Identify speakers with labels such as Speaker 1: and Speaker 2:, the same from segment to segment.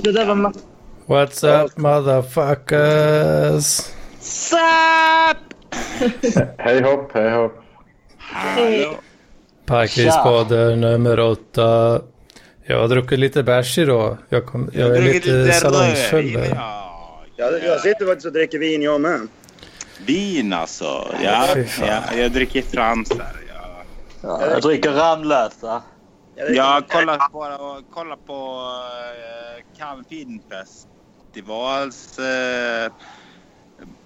Speaker 1: Det där var massor.
Speaker 2: What's up motherfuckers?
Speaker 3: Hej hopp, hej hopp.
Speaker 2: Parkrispodden nummer åtta. Jag har druckit lite bärs idag. Jag, kom, jag är lite salongsfull. där.
Speaker 4: Ja,
Speaker 5: Jag, jag sitter faktiskt och dricker vin jag med.
Speaker 4: Eh, Vin alltså. Ja,
Speaker 2: Fy fan.
Speaker 4: ja jag dricker trams där. Ja.
Speaker 6: Ja, jag dricker Ramlösa.
Speaker 4: Jag kollar på, kollar på eh, Cannes filmfestivals eh,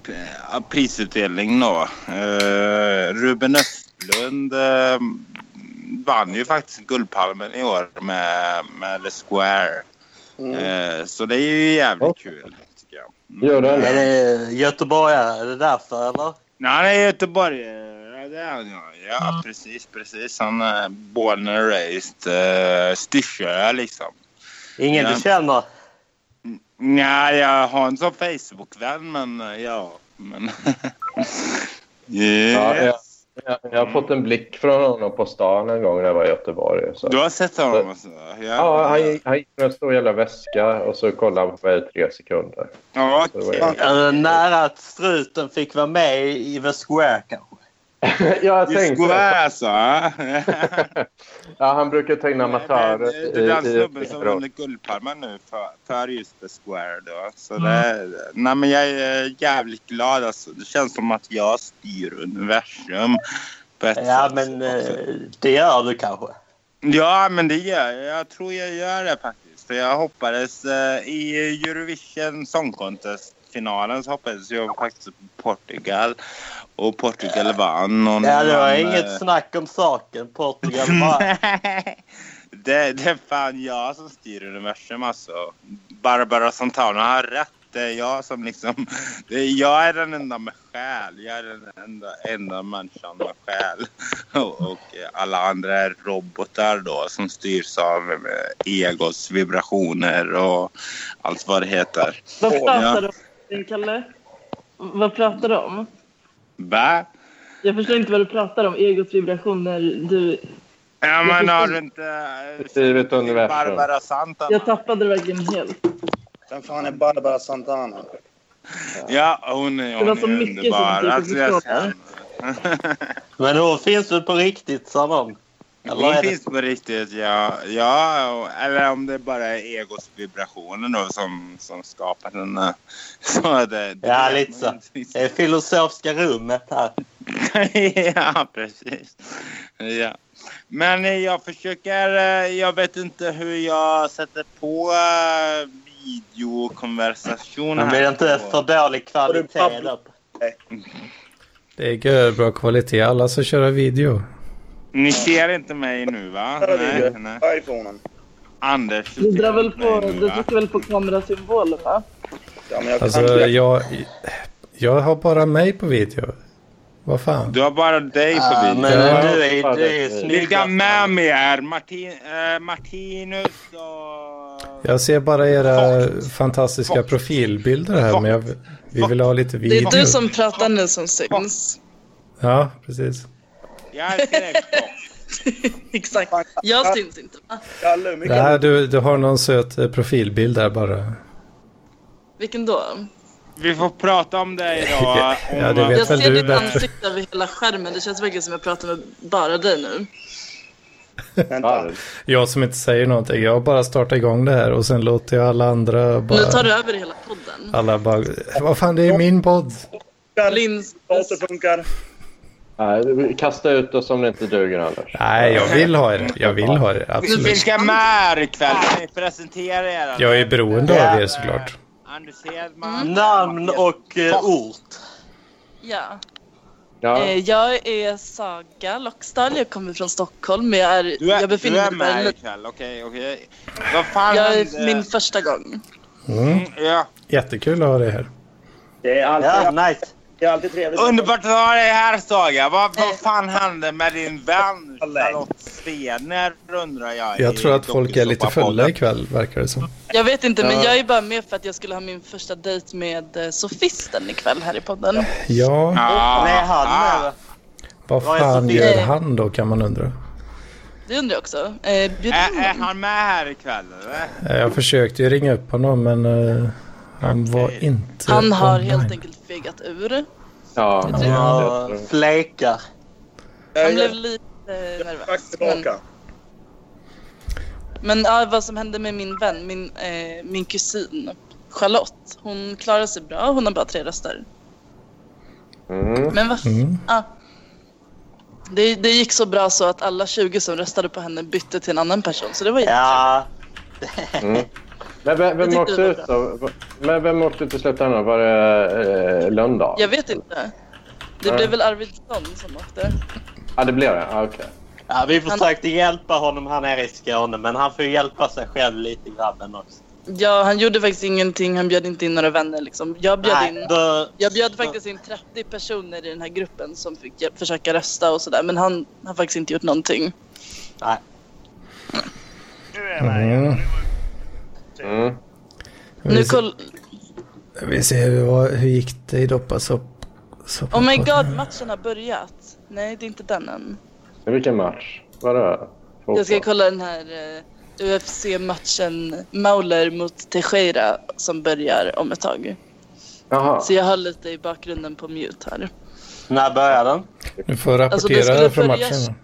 Speaker 4: p- ja, prisutdelning då. Eh, Ruben Östlund eh, vann ju faktiskt Guldpalmen i år med, med The Square.
Speaker 5: Mm.
Speaker 4: Eh, så det är ju jävligt kul tycker jag.
Speaker 3: Gör
Speaker 6: Är
Speaker 3: den?
Speaker 6: det göteborgare? Är det därför eller?
Speaker 4: Nej, han är göteborgare. Ja, det är han, ja. ja, precis, precis. Han är born and raised uh, Styrsö, liksom.
Speaker 6: Ingen
Speaker 4: Ja.
Speaker 6: du känner?
Speaker 4: Nej, jag har en sån Facebook-vän, men eh, ja. Men... yes.
Speaker 3: Ja, ja. Jag, jag har fått en blick från honom på stan en gång när jag var i Göteborg. Så.
Speaker 4: Du har sett honom? Alltså. Ja,
Speaker 3: Ja, han, gick- han gick med en stor jävla väska och så kollade han på mig i tre sekunder.
Speaker 4: Ja,
Speaker 3: det var
Speaker 4: okej.
Speaker 3: jag.
Speaker 6: Är det nära att struten fick vara med i The Square kanske?
Speaker 3: jag
Speaker 4: Det är
Speaker 3: tänkte
Speaker 4: square, alltså. ja. alltså.
Speaker 3: ja, Han brukar teckna
Speaker 4: Det
Speaker 3: amatörer.
Speaker 4: är den snubben som
Speaker 3: i-
Speaker 4: vunnit Guldpalmen nu för, för just The Square. Då. Så
Speaker 6: Mm.
Speaker 4: det, nej, men jag är eh, jävligt glad. Alltså. Det känns som att jag styr universum. På ett
Speaker 6: Ja,
Speaker 4: sätt.
Speaker 6: men eh, det gör du kanske.
Speaker 4: Mm, Ja, men det gör jag. Jag tror jag gör det faktiskt. För jag hoppades eh, i Eurovision Song Contest-finalen så hoppades jag faktiskt på Portugal. Och Portugal vann. Och
Speaker 6: Ja, det var
Speaker 4: vann,
Speaker 6: inget
Speaker 4: eh,
Speaker 6: snack om saken. Portugal var...
Speaker 4: det, det är fan jag som styr universum alltså. Barbara Santana har rätt. Det är jag som liksom... Det är, jag är den enda med själ. Jag är den enda, enda människan med själ. Och, och alla andra är robotar då som styrs av eh, egos vibrationer och allt vad det heter.
Speaker 1: Vad pratar
Speaker 4: ja.
Speaker 1: du om, Kalle? Vad pratar du om?
Speaker 4: Va?
Speaker 1: Jag förstår inte vad du pratar om. Egots vibrationer. Du,
Speaker 4: Ja, men har du inte...
Speaker 3: Styrt universum.
Speaker 4: Barbara Santana.
Speaker 1: jag tappade det verkligen helt.
Speaker 5: Vem fan är Barbara Santana?
Speaker 4: Ja, hon, är- hon
Speaker 1: var så
Speaker 4: är
Speaker 1: mycket som
Speaker 4: underbar.
Speaker 1: typ
Speaker 4: Alltså, jag
Speaker 1: förstår det.
Speaker 6: Men hon finns väl på riktigt, sa de. Eller
Speaker 4: Hon
Speaker 6: är det...
Speaker 4: finns på riktigt, ja. ja. och- Eller om det bara är egos vibrationer då som, som skapar den. eh, Så det, det
Speaker 6: Ja,
Speaker 4: vet
Speaker 6: lite
Speaker 4: man
Speaker 6: Det är filosofiska rummet här.
Speaker 4: inte. ja, precis. Ja. Men eh, jag försöker... eh, Jag vet inte hur jag sätter på eh, videokonversation
Speaker 6: Men blir det inte
Speaker 4: på-
Speaker 6: för dålig kvalitet då?
Speaker 2: Det är görbra kvalitet. Alla som kör video.
Speaker 4: Ni ser inte mig nu, va? Nej, nej.
Speaker 5: Iphonen.
Speaker 4: Anders,
Speaker 1: Du drar
Speaker 4: ser
Speaker 1: väl
Speaker 4: inte
Speaker 1: på,
Speaker 4: mig nu,
Speaker 1: du
Speaker 4: va?
Speaker 1: trycker väl på kamerasymbolen, va?
Speaker 5: Ja, men jag kan
Speaker 2: Alltså
Speaker 5: inte...
Speaker 2: jag... Jag har bara mig på video. Vad fan?
Speaker 4: Du har bara dig på
Speaker 6: Ja,
Speaker 4: videon.
Speaker 6: men
Speaker 2: Ja,
Speaker 6: du är, du är
Speaker 3: fan,
Speaker 6: snygg.
Speaker 4: Vilka med mig är Martin, eh, Martinus och...
Speaker 2: Jag ser bara era
Speaker 4: Fuck.
Speaker 2: fantastiska
Speaker 4: Fuck.
Speaker 2: profilbilder här.
Speaker 4: Fuck.
Speaker 2: Men jag, vi
Speaker 4: Fuck.
Speaker 2: vill ha lite
Speaker 7: Det
Speaker 2: video.
Speaker 7: är du som pratar nu som syns.
Speaker 2: Ja, precis.
Speaker 4: Jag är skräckchock.
Speaker 7: Exakt. Jag syns inte. va?
Speaker 5: Kalle, hur mycket...
Speaker 2: Nej, du, du har någon söt eh, profilbild där bara.
Speaker 7: Vilken då?
Speaker 4: Vi får prata om det idag. Om
Speaker 2: Ja, det vet
Speaker 7: Jag
Speaker 2: väl
Speaker 7: ser
Speaker 2: du
Speaker 7: ditt
Speaker 2: bättre.
Speaker 7: ansikte över hela skärmen. Det känns verkligen som jag pratar med bara dig nu.
Speaker 5: Vänta.
Speaker 2: Jag som inte säger någonting. Jag bara startar igång det här och sen låter jag alla andra bara...
Speaker 7: Nu tar du över hela podden.
Speaker 2: Alla bara... Vad fan, det är min podd!
Speaker 7: Linn,
Speaker 5: Dator funkar.
Speaker 3: Nej, kasta ut oss om det inte duger Anders.
Speaker 2: Nej, jag vill ha er. Jag vill ha er, absolut.
Speaker 4: Vilka med är ikväll? Kan ni presentera er?
Speaker 2: Jag är beroende av er såklart.
Speaker 4: Anders
Speaker 7: Mm.
Speaker 4: Hedman.
Speaker 6: Namn och eh, ort.
Speaker 7: ja.
Speaker 3: Ja,
Speaker 7: Eh, Jag är Saga Lockstall. Jag kommer från Stockholm. men Jag, är,
Speaker 4: Du är,
Speaker 7: jag
Speaker 4: du
Speaker 7: befinner
Speaker 4: är
Speaker 7: mig
Speaker 4: med
Speaker 7: där nu.
Speaker 4: ikväll, okej. okej. Vad fan
Speaker 7: Jag
Speaker 4: hände?
Speaker 7: är min första gång.
Speaker 2: Mm.
Speaker 4: Ja.
Speaker 2: Jättekul att ha dig här.
Speaker 5: Det är
Speaker 6: Ja,
Speaker 5: alltid,
Speaker 6: nice.
Speaker 5: det är alltid trevligt.
Speaker 4: Underbart att ha dig här Saga. Vad, vad fan hände med din vän
Speaker 5: Alla.
Speaker 4: Charlotte Stener undrar jag.
Speaker 2: Jag
Speaker 4: i
Speaker 2: tror att folk är lite
Speaker 4: dokusåpapodden.
Speaker 2: fulla ikväll, verkar det som.
Speaker 7: Jag vet inte, men jag är bara med för att jag skulle ha min första dejt med eh, sofisten ikväll här i podden.
Speaker 2: Ja,
Speaker 4: Ah,
Speaker 6: Nej, han
Speaker 4: ah.
Speaker 6: med.
Speaker 2: vad
Speaker 6: Vad är
Speaker 2: fan
Speaker 6: Sofie?
Speaker 2: gör han då, kan man undra.
Speaker 7: Det undrar jag också. Eh, bjud in
Speaker 4: Är, är
Speaker 7: honom.
Speaker 4: han med här ikväll eller?
Speaker 2: Eh, Jag försökte ju ringa upp honom men eh, han var
Speaker 4: Okej.
Speaker 2: inte
Speaker 7: Han har
Speaker 2: online.
Speaker 7: helt enkelt fegat ur.
Speaker 3: Ja,
Speaker 7: tror-
Speaker 3: jag
Speaker 6: Ja,
Speaker 3: tror-
Speaker 6: flekar.
Speaker 7: Han
Speaker 5: Jag
Speaker 7: blev
Speaker 5: är
Speaker 7: lite eh, nervös.
Speaker 5: faktiskt
Speaker 7: Men,
Speaker 5: tillbaka.
Speaker 7: men ja, vad som hände med min vän, min, eh, min kusin Charlotte. Hon klarar sig bra, hon har bara tre röster.
Speaker 3: mm.
Speaker 7: Men vad
Speaker 2: Mm.
Speaker 7: ah. det, det gick så bra så att alla 20 som röstade på henne bytte till en annan person. Så det var jättekul.
Speaker 6: Ja,
Speaker 3: Men vem,
Speaker 7: Jag
Speaker 3: vem
Speaker 7: tyckte
Speaker 3: åkte
Speaker 7: det var
Speaker 3: ut då? Men vem åkte ut i slutändan? Var det eh, Lönndahl?
Speaker 7: Jag vet inte. Det
Speaker 3: Nej.
Speaker 7: blev väl Arvidsson som åkte.
Speaker 3: Ja, det blev det. Ah, okej.
Speaker 6: ja, vi
Speaker 7: Han-
Speaker 6: försökte hjälpa honom här nere i Skåne, men han får ju hjälpa sig själv lite, grabben också.
Speaker 7: Ja, han gjorde faktiskt ingenting. Han bjöd inte in några vänner. Liksom. Jag, bjöd in,
Speaker 6: då,
Speaker 7: jag bjöd faktiskt in 30 personer i den här gruppen som fick hjä- försöka rösta och sådär. Men han har faktiskt inte gjort någonting.
Speaker 6: Nej.
Speaker 2: Mm.
Speaker 3: Mm.
Speaker 7: Nu
Speaker 2: Vi, se,
Speaker 7: koll...
Speaker 2: vi ser hur, vad- hur gick det i Doppasopp?
Speaker 7: Oh my god, matchen har börjat. Nej, det är inte den än.
Speaker 3: Men Vilken match? Var det? Fotboll?
Speaker 7: Jag ska kolla den här eh, UFC-matchen Mauler mot Teixeira som börjar om ett tag.
Speaker 3: Jaha.
Speaker 7: Så jag har lite i bakgrunden på mute här.
Speaker 6: När börjar den?
Speaker 2: Du får
Speaker 7: Alltså,
Speaker 2: rapportera
Speaker 7: det skulle
Speaker 2: från
Speaker 7: följas-
Speaker 2: matchen.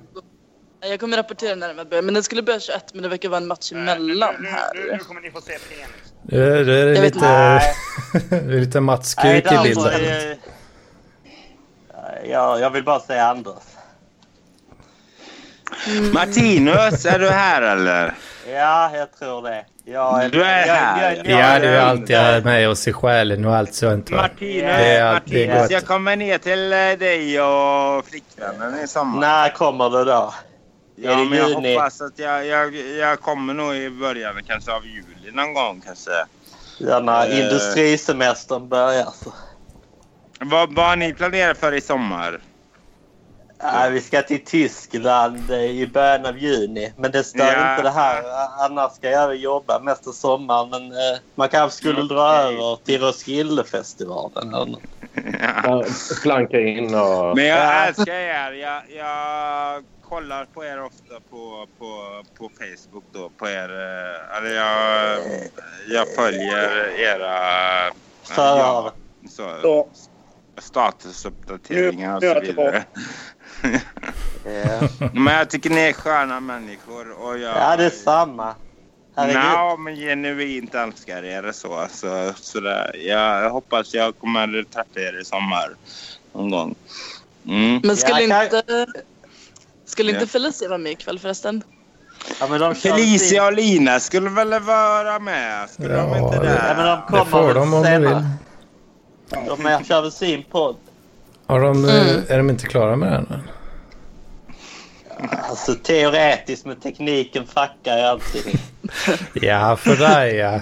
Speaker 7: Jag kommer rapportera när den börjar, men den skulle börja 21 men det verkar vara en match emellan
Speaker 8: Nu, nu, nu
Speaker 7: här.
Speaker 8: kommer ni få se liksom. penis.
Speaker 2: Det är, det är
Speaker 7: Jag vet
Speaker 2: lite, det är alltså lite Mats
Speaker 6: Nej,
Speaker 2: Kuk i
Speaker 6: Danford
Speaker 2: bilden.
Speaker 6: är- Ja, jag vill bara säga Anders.
Speaker 4: Martinus, är du här eller?
Speaker 6: Ja, jag tror det. Jag
Speaker 4: Du är här.
Speaker 2: Ja, du är
Speaker 4: Ja,
Speaker 2: alltid
Speaker 4: det-
Speaker 2: med oss i själen och allt sånt. Va?
Speaker 4: Martinus,
Speaker 6: Det
Speaker 2: är- det är
Speaker 4: Martinus
Speaker 2: gott.
Speaker 4: jag kommer ner till eh, dig och flickvännen i sommar.
Speaker 6: När kommer du då? är
Speaker 4: Ja,
Speaker 6: det
Speaker 4: men jag
Speaker 6: juni?
Speaker 4: hoppas att jag, jag, jag kommer nog i början kanske av juli någon gång kanske.
Speaker 6: Ja, när
Speaker 4: Eh.
Speaker 6: industrisemestern börjar. Så.
Speaker 4: Vad, vad har ni planerat för i sommar?
Speaker 6: Ja, vi ska till Tyskland eh, i början av juni. Men det stör
Speaker 4: Ja.
Speaker 6: inte det här. A- Annars ska jag väl jobba mesta sommaren. Men eh, man kanske skulle dra
Speaker 4: Mm, Okej.
Speaker 6: över till Roskildefestivalen. eller nåt.
Speaker 3: Ja, Planka in och...
Speaker 4: Men jag
Speaker 6: Ja.
Speaker 4: älskar er. Jag, jag kollar på er ofta på, på, på Facebook då. På er, eh, eller jag, jag följer era eh,
Speaker 6: Så,
Speaker 4: ja, så,
Speaker 5: Så,
Speaker 4: statusuppdateringar och
Speaker 5: Nu- nu är
Speaker 4: så
Speaker 5: jag
Speaker 4: vidare.
Speaker 6: eh,
Speaker 4: Men jag tycker ni är sköna människor. Och jag,
Speaker 6: Ja, det är samma. Herregud.
Speaker 4: Nej, men genuint älskar er så. så, så där. Jag hoppas jag kommer träffa er i sommar någon gång. Mm.
Speaker 7: Men skulle
Speaker 6: Ja,
Speaker 7: inte... Skulle inte
Speaker 4: Ja.
Speaker 7: Felicia vara med ikväll förresten?
Speaker 6: Ja, men de kör
Speaker 4: Felicia och Lina skulle väl vara med? Skulle de
Speaker 2: Ja,
Speaker 4: inte
Speaker 2: det-
Speaker 6: Ja, men
Speaker 4: det?
Speaker 6: de kommer
Speaker 2: Det får de om de
Speaker 6: senare.
Speaker 2: vill.
Speaker 6: De är- kör väl sin podd.
Speaker 2: Har de, eh, Är de inte klara med den? än?
Speaker 6: Alltså teoretiskt med tekniken fuckar jag allting.
Speaker 2: Ja, för dig ja.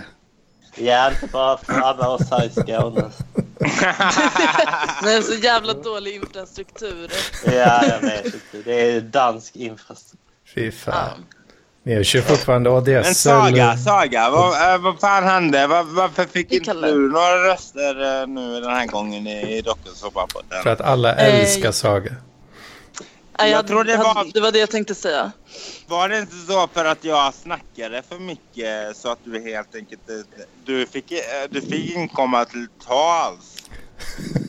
Speaker 6: Ja, inte bara för alla oss här i Skåne.
Speaker 7: Nej, så jävla dålig infrastruktur.
Speaker 6: Ja, jag vet inte. Det är dansk infrastruktur.
Speaker 2: Fy fan. Ni kör fortfarande ADSL.
Speaker 4: Men Saga, Saga, vad, äh, vad fan hände? Var, varför fick
Speaker 7: Vi
Speaker 4: inte
Speaker 7: kallar-
Speaker 4: du några röster äh, nu den här gången i, i dokusåpapodden?
Speaker 2: För att alla
Speaker 7: Eh,
Speaker 2: älskar Saga.
Speaker 7: Nej,
Speaker 4: Jag tror det var-
Speaker 7: hade- det var det jag tänkte säga.
Speaker 4: Var det inte så för att jag snackade för mycket så att du helt enkelt... eh, Du fick, eh, du fick inkomma till tals.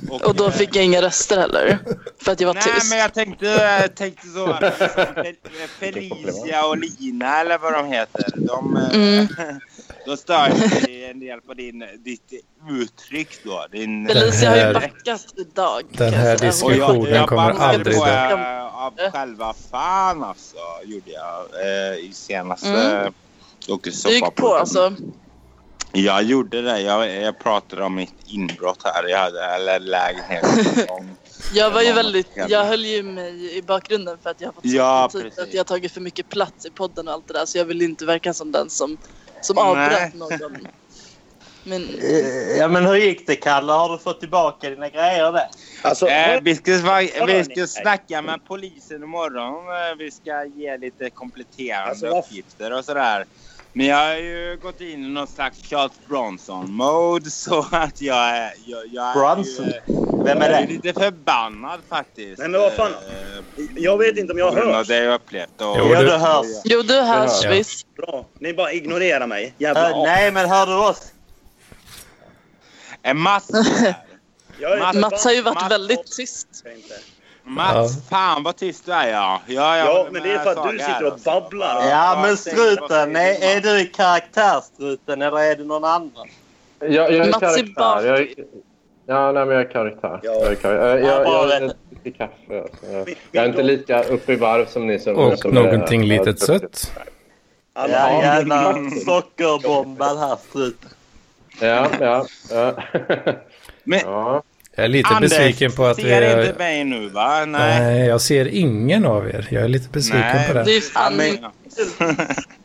Speaker 7: Och då fick jag inga röster heller. För att jag var
Speaker 4: Nej,
Speaker 7: tyst.
Speaker 4: men jag tänkte, jag tänkte så. Fel- Felicia och Lina eller vad de heter. De,
Speaker 7: Mm.
Speaker 4: mm. Då stör sig en del på din, ditt uttryck då. Din,
Speaker 7: Felicia har
Speaker 2: Den här-
Speaker 7: ju backat idag.
Speaker 2: den
Speaker 7: kan jag
Speaker 2: här
Speaker 7: säga.
Speaker 4: och
Speaker 2: diskussionen-
Speaker 4: jag, jag
Speaker 2: kommer
Speaker 4: bannade
Speaker 7: aldrig
Speaker 4: på
Speaker 7: dö.
Speaker 4: eh, av själva fan alltså. Gjorde jag eh, i senaste
Speaker 7: Mm.
Speaker 4: dokusåpa-
Speaker 7: Du gick på alltså.
Speaker 4: Jag gjorde det. Jag, jag pratade om mitt inbrott här. Jag hade eller lägenhetsintrång.
Speaker 7: Jag var ju
Speaker 4: Ja,
Speaker 7: väldigt,
Speaker 4: jävlar.
Speaker 7: jag höll ju mig i bakgrunden för att jag har fått
Speaker 4: Ja,
Speaker 7: så mycket kritik,
Speaker 4: precis.
Speaker 7: att jag har tagit för mycket plats i podden och allt det där så jag vill inte verka som den som, som
Speaker 4: Nej.
Speaker 7: avbröt någon. Men
Speaker 6: Eh, Ja, men hur gick det, Kalle? Har du fått tillbaka dina grejer där?
Speaker 5: alltså,
Speaker 4: Eh, vi, ska, sva-
Speaker 5: Vadå,
Speaker 4: vi
Speaker 5: ni?
Speaker 4: ska snacka med polisen imorgon. Eh, Vi ska ge lite kompletterande
Speaker 5: Alltså, vad-
Speaker 4: uppgifter och sådär. Men jag har ju gått in i någon slags Charles Bronson-mode så att jag är... Jag, jag är ju,
Speaker 6: Bronson?
Speaker 4: eh,
Speaker 6: Vem är
Speaker 4: Jag är
Speaker 6: det?
Speaker 4: lite förbannad faktiskt.
Speaker 5: Nej, men vad fan?
Speaker 4: eh,
Speaker 5: Jag vet inte om jag
Speaker 4: grund av
Speaker 5: hörs.
Speaker 4: det jag upplevt. Och,
Speaker 2: Jo,
Speaker 6: Ja,
Speaker 2: det-
Speaker 6: du hörs.
Speaker 7: Jo, du hörs
Speaker 2: Ja.
Speaker 7: visst.
Speaker 5: Bra. Ni bara ignorerar mig.
Speaker 6: Hör-
Speaker 5: Jävla as.
Speaker 6: Äh, nej, men hör du oss?
Speaker 4: Eh, Mats,
Speaker 5: Jag är inte
Speaker 7: Mats har ju varit
Speaker 4: Mats-
Speaker 7: väldigt tyst.
Speaker 5: Jag är inte.
Speaker 4: Mats, fan vad tyst du är ja. Ja, jag
Speaker 5: Ja,
Speaker 4: håller
Speaker 5: men
Speaker 4: med
Speaker 5: det är för att du
Speaker 4: Saga
Speaker 5: sitter
Speaker 4: här,
Speaker 5: och
Speaker 4: alltså.
Speaker 5: babblar.
Speaker 6: Ja,
Speaker 4: vad
Speaker 6: men
Speaker 4: säger du? Vad säger
Speaker 6: struten.
Speaker 4: du,
Speaker 6: Är, är
Speaker 4: Mats?
Speaker 6: du i karaktärstruten eller är det någon annan?
Speaker 3: Jag, jag är
Speaker 7: Mats är bak.
Speaker 3: karaktär. Jag är, ja, nej, men jag är karaktär.
Speaker 5: Ja.
Speaker 3: Jag, är karaktär. Jag, jag,
Speaker 6: Ja,
Speaker 3: jag,
Speaker 6: bara
Speaker 3: jag
Speaker 6: det.
Speaker 3: dricker kaffe. Alltså. Jag, jag är inte lika uppe i varv som ni. Som,
Speaker 2: Och
Speaker 3: som typ.
Speaker 2: någonting
Speaker 3: är-
Speaker 2: litet sött.
Speaker 5: Alla
Speaker 6: Ja,
Speaker 5: har
Speaker 6: jävla
Speaker 5: Mats.
Speaker 6: sockerbombad här struten.
Speaker 3: Ja, ja. ja.
Speaker 4: Men-
Speaker 3: ja.
Speaker 2: Jag är lite besviken på att vi...
Speaker 4: ser inte mig nu va? Nej.
Speaker 2: Nej, jag ser ingen av er. Jag är lite besviken
Speaker 4: Nej.
Speaker 2: på det.
Speaker 7: Det är fan
Speaker 6: men-
Speaker 7: inte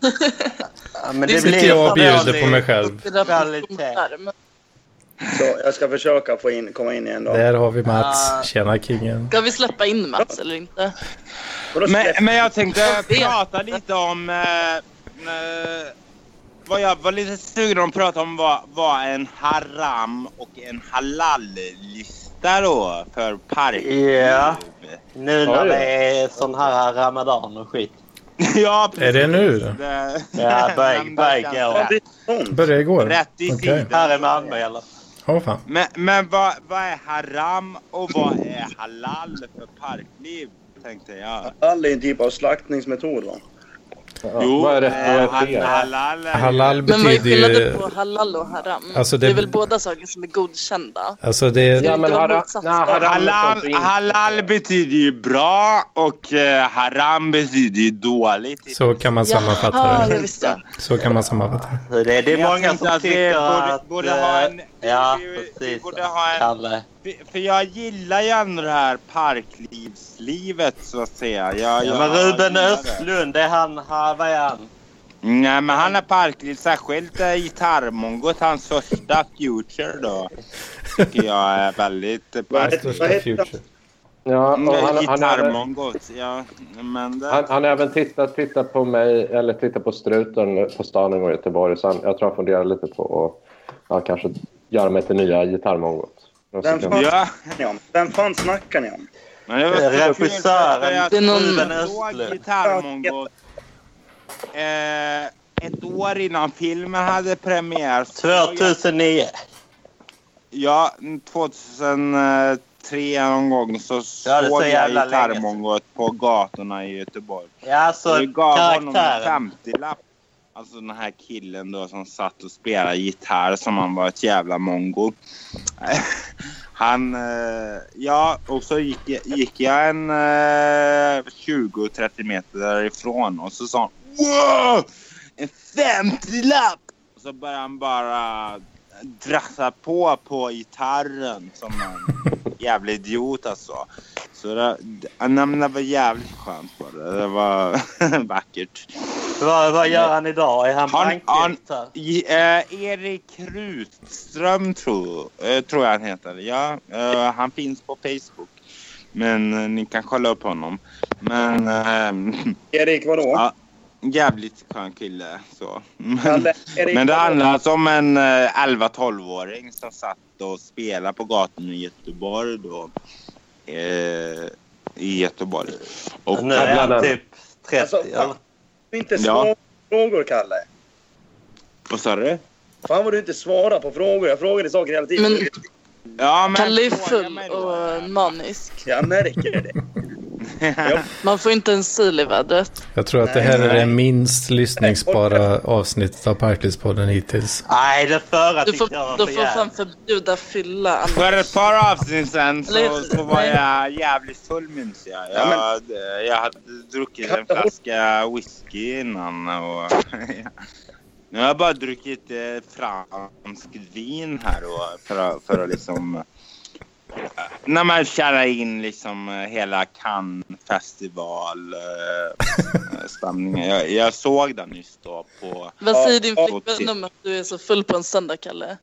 Speaker 6: Ja, men
Speaker 7: Det
Speaker 6: det
Speaker 2: Sitter jag och
Speaker 6: blir så
Speaker 2: bjuder på mig själv.
Speaker 7: det
Speaker 6: Kvalitet.
Speaker 7: där, men
Speaker 5: Så jag ska försöka få in, komma in igen då.
Speaker 2: Där har vi Mats.
Speaker 6: Ah.
Speaker 2: Tjena kingen.
Speaker 7: Ska vi släppa in Mats eller inte?
Speaker 5: Och då släpper
Speaker 4: Men, men jag tänkte
Speaker 7: vet.
Speaker 4: prata lite om... Eh, eh, vad jag var lite sugen om att prata om var, var en haram och en halal-lista då för park.
Speaker 6: Ja. Nu när
Speaker 3: Oj.
Speaker 6: det är sån här ramadan och skit.
Speaker 4: ja, precis.
Speaker 2: Är det nu då?
Speaker 4: Det-
Speaker 6: Ja, bög, bög.
Speaker 5: jag
Speaker 6: ja.
Speaker 5: bli sån?
Speaker 2: Började igår?
Speaker 4: Rätt i
Speaker 2: Okej.
Speaker 4: sidan.
Speaker 6: Här i Malmö eller?
Speaker 2: Åh fan.
Speaker 4: Men, men vad, vad är haram och vad är halal för parkliv? Tänkte jag.
Speaker 5: Alla är en typ av slaktningsmetod va?
Speaker 3: Ja. Vad är rätt och vad är
Speaker 4: eh,
Speaker 3: fel?
Speaker 4: halal är-
Speaker 2: Halal
Speaker 7: Men vad är
Speaker 2: betyder ju...
Speaker 7: skillnaden på halal och haram?
Speaker 2: Alltså,
Speaker 7: det...
Speaker 2: det-
Speaker 7: är väl båda saker som är godkända?
Speaker 2: Alltså det...
Speaker 3: Ja, men
Speaker 7: Det var
Speaker 3: hara,
Speaker 7: motsatsen.
Speaker 3: nej, haram är sånt
Speaker 4: Halal,
Speaker 3: du inte-
Speaker 4: halal betyder ju bra och eh, haram betyder ju dåligt.
Speaker 2: Så kan man sammanfatta
Speaker 7: Jaha,
Speaker 2: det.
Speaker 7: det visste jag.
Speaker 2: Så kan man sammanfatta det.
Speaker 6: Det, det är
Speaker 4: Men jag
Speaker 6: många
Speaker 4: tänkte
Speaker 6: som
Speaker 4: att vi
Speaker 6: tycker
Speaker 4: borde-
Speaker 6: att...
Speaker 4: borde ha en-
Speaker 6: eh, ja,
Speaker 4: vi- vi
Speaker 6: precis.
Speaker 4: borde ha en-
Speaker 6: Kalle.
Speaker 4: För- För jag gillar ju ändå det här parklivslivet så att säga. Jag,
Speaker 6: Ja,
Speaker 4: jag
Speaker 6: men Ruben
Speaker 4: gillar det.
Speaker 6: Östlund, det är han, ha- vad är han?
Speaker 4: Nej men han är parkliv, särskilt eh, gitarrmongot, hans första Future då. Tycker jag är väldigt eh,
Speaker 5: Vad
Speaker 4: parkliv.
Speaker 5: heter-
Speaker 2: Största
Speaker 5: vad heter
Speaker 2: future.
Speaker 3: Ja, och han, han, har även-
Speaker 4: Gitarrmongot, ja. Men det...
Speaker 3: han, han har även tittat, tittat på mig, eller tittat på struten på stan en gång i Göteborg. Så han, jag tror han funderar lite på att ja, kanske göra mig till nya gitarrmongot. Och så
Speaker 5: Den
Speaker 3: kan-
Speaker 5: fan-
Speaker 4: Ja,
Speaker 5: ni om? Vem fan snackar ni om?
Speaker 4: men det var så
Speaker 6: Regissören.
Speaker 4: kul för jag
Speaker 7: Det är någon-
Speaker 4: såg
Speaker 6: Ruben Östlund.
Speaker 4: Gitarrmongot. Eh, ett år innan filmen hade premiär. så-
Speaker 6: 2009.
Speaker 4: Ja, 2003 någon gång så
Speaker 6: Ja, det är så
Speaker 4: såg jag
Speaker 6: jävla länge sedan.
Speaker 4: gitarrmongot på gatorna i Göteborg.
Speaker 6: Ja, så
Speaker 4: Vi gav honom
Speaker 6: Alltså, karaktären.
Speaker 4: en 50-lapp. Alltså den här killen då som satt och spelade gitarr som han var ett jävla mongo. Han, eh, ja, och så gick, jag- gick jag en eh, 20-30 meter därifrån och så sa han Wow! En 50-lapp! Och så började han bara drassa på på gitarren som en jävla idiot alltså. Så det, det, nej, men det var jävligt skönt på det. Det var vackert.
Speaker 6: Vad, vad gör han idag? Är han
Speaker 4: Han-
Speaker 6: bankdirektör?
Speaker 4: I- eh, Erik Rutström tror, eh, tror jag han heter. Ja, eh, han finns på Facebook. Men eh, ni kan kolla upp honom. Men eh,
Speaker 5: Erik vadå?
Speaker 4: Ja. jävligt skön kille. Så. Men,
Speaker 5: Kalle, Erik,
Speaker 4: men det
Speaker 5: vadå?
Speaker 4: handlar alltså om en eh, 11-12-åring som satt och spelade på gatan i Göteborg då. Eh, I Göteborg. Och,
Speaker 6: Nu är han typ 30.
Speaker 5: Alltså,
Speaker 6: eller?
Speaker 5: Du inte
Speaker 4: Ja.
Speaker 5: svara på frågor Kalle.
Speaker 4: vad sa du?
Speaker 5: Fan vad du inte svarar på frågor. Jag frågar dig saker hela tiden.
Speaker 7: Men-
Speaker 4: Ja, men
Speaker 7: Kalle är
Speaker 4: fråga
Speaker 7: full
Speaker 4: mig då.
Speaker 7: och manisk.
Speaker 5: Jag märker det.
Speaker 7: Man får inte en sil i vädret.
Speaker 2: Jag tror att det här är det minst lyssningsbara avsnittet av Parklivspodden hittills.
Speaker 6: Nej, det förra
Speaker 7: Du
Speaker 6: tyckte jag
Speaker 7: får,
Speaker 6: var
Speaker 7: du
Speaker 6: för
Speaker 7: får fan
Speaker 6: jävligt.
Speaker 7: förbjuda fylla. annars.
Speaker 4: För ett par avsnitt sen
Speaker 7: Eller-
Speaker 4: så, så var
Speaker 7: nej.
Speaker 4: jag jävligt full minns jag. Jag,
Speaker 5: men-
Speaker 4: hade- jag hade druckit en flaska whisky innan och... Nu har jag bara druckit eh, franskt vin här då för, att- för att liksom... eh, När man känner in liksom eh, hela Cannes festival eh, eh, stämningen. Jag, jag såg den nyss då på...
Speaker 7: Vad säger din
Speaker 4: Ja,
Speaker 7: flickvän
Speaker 4: precis.
Speaker 7: om att du är så full på en söndag, Kalle?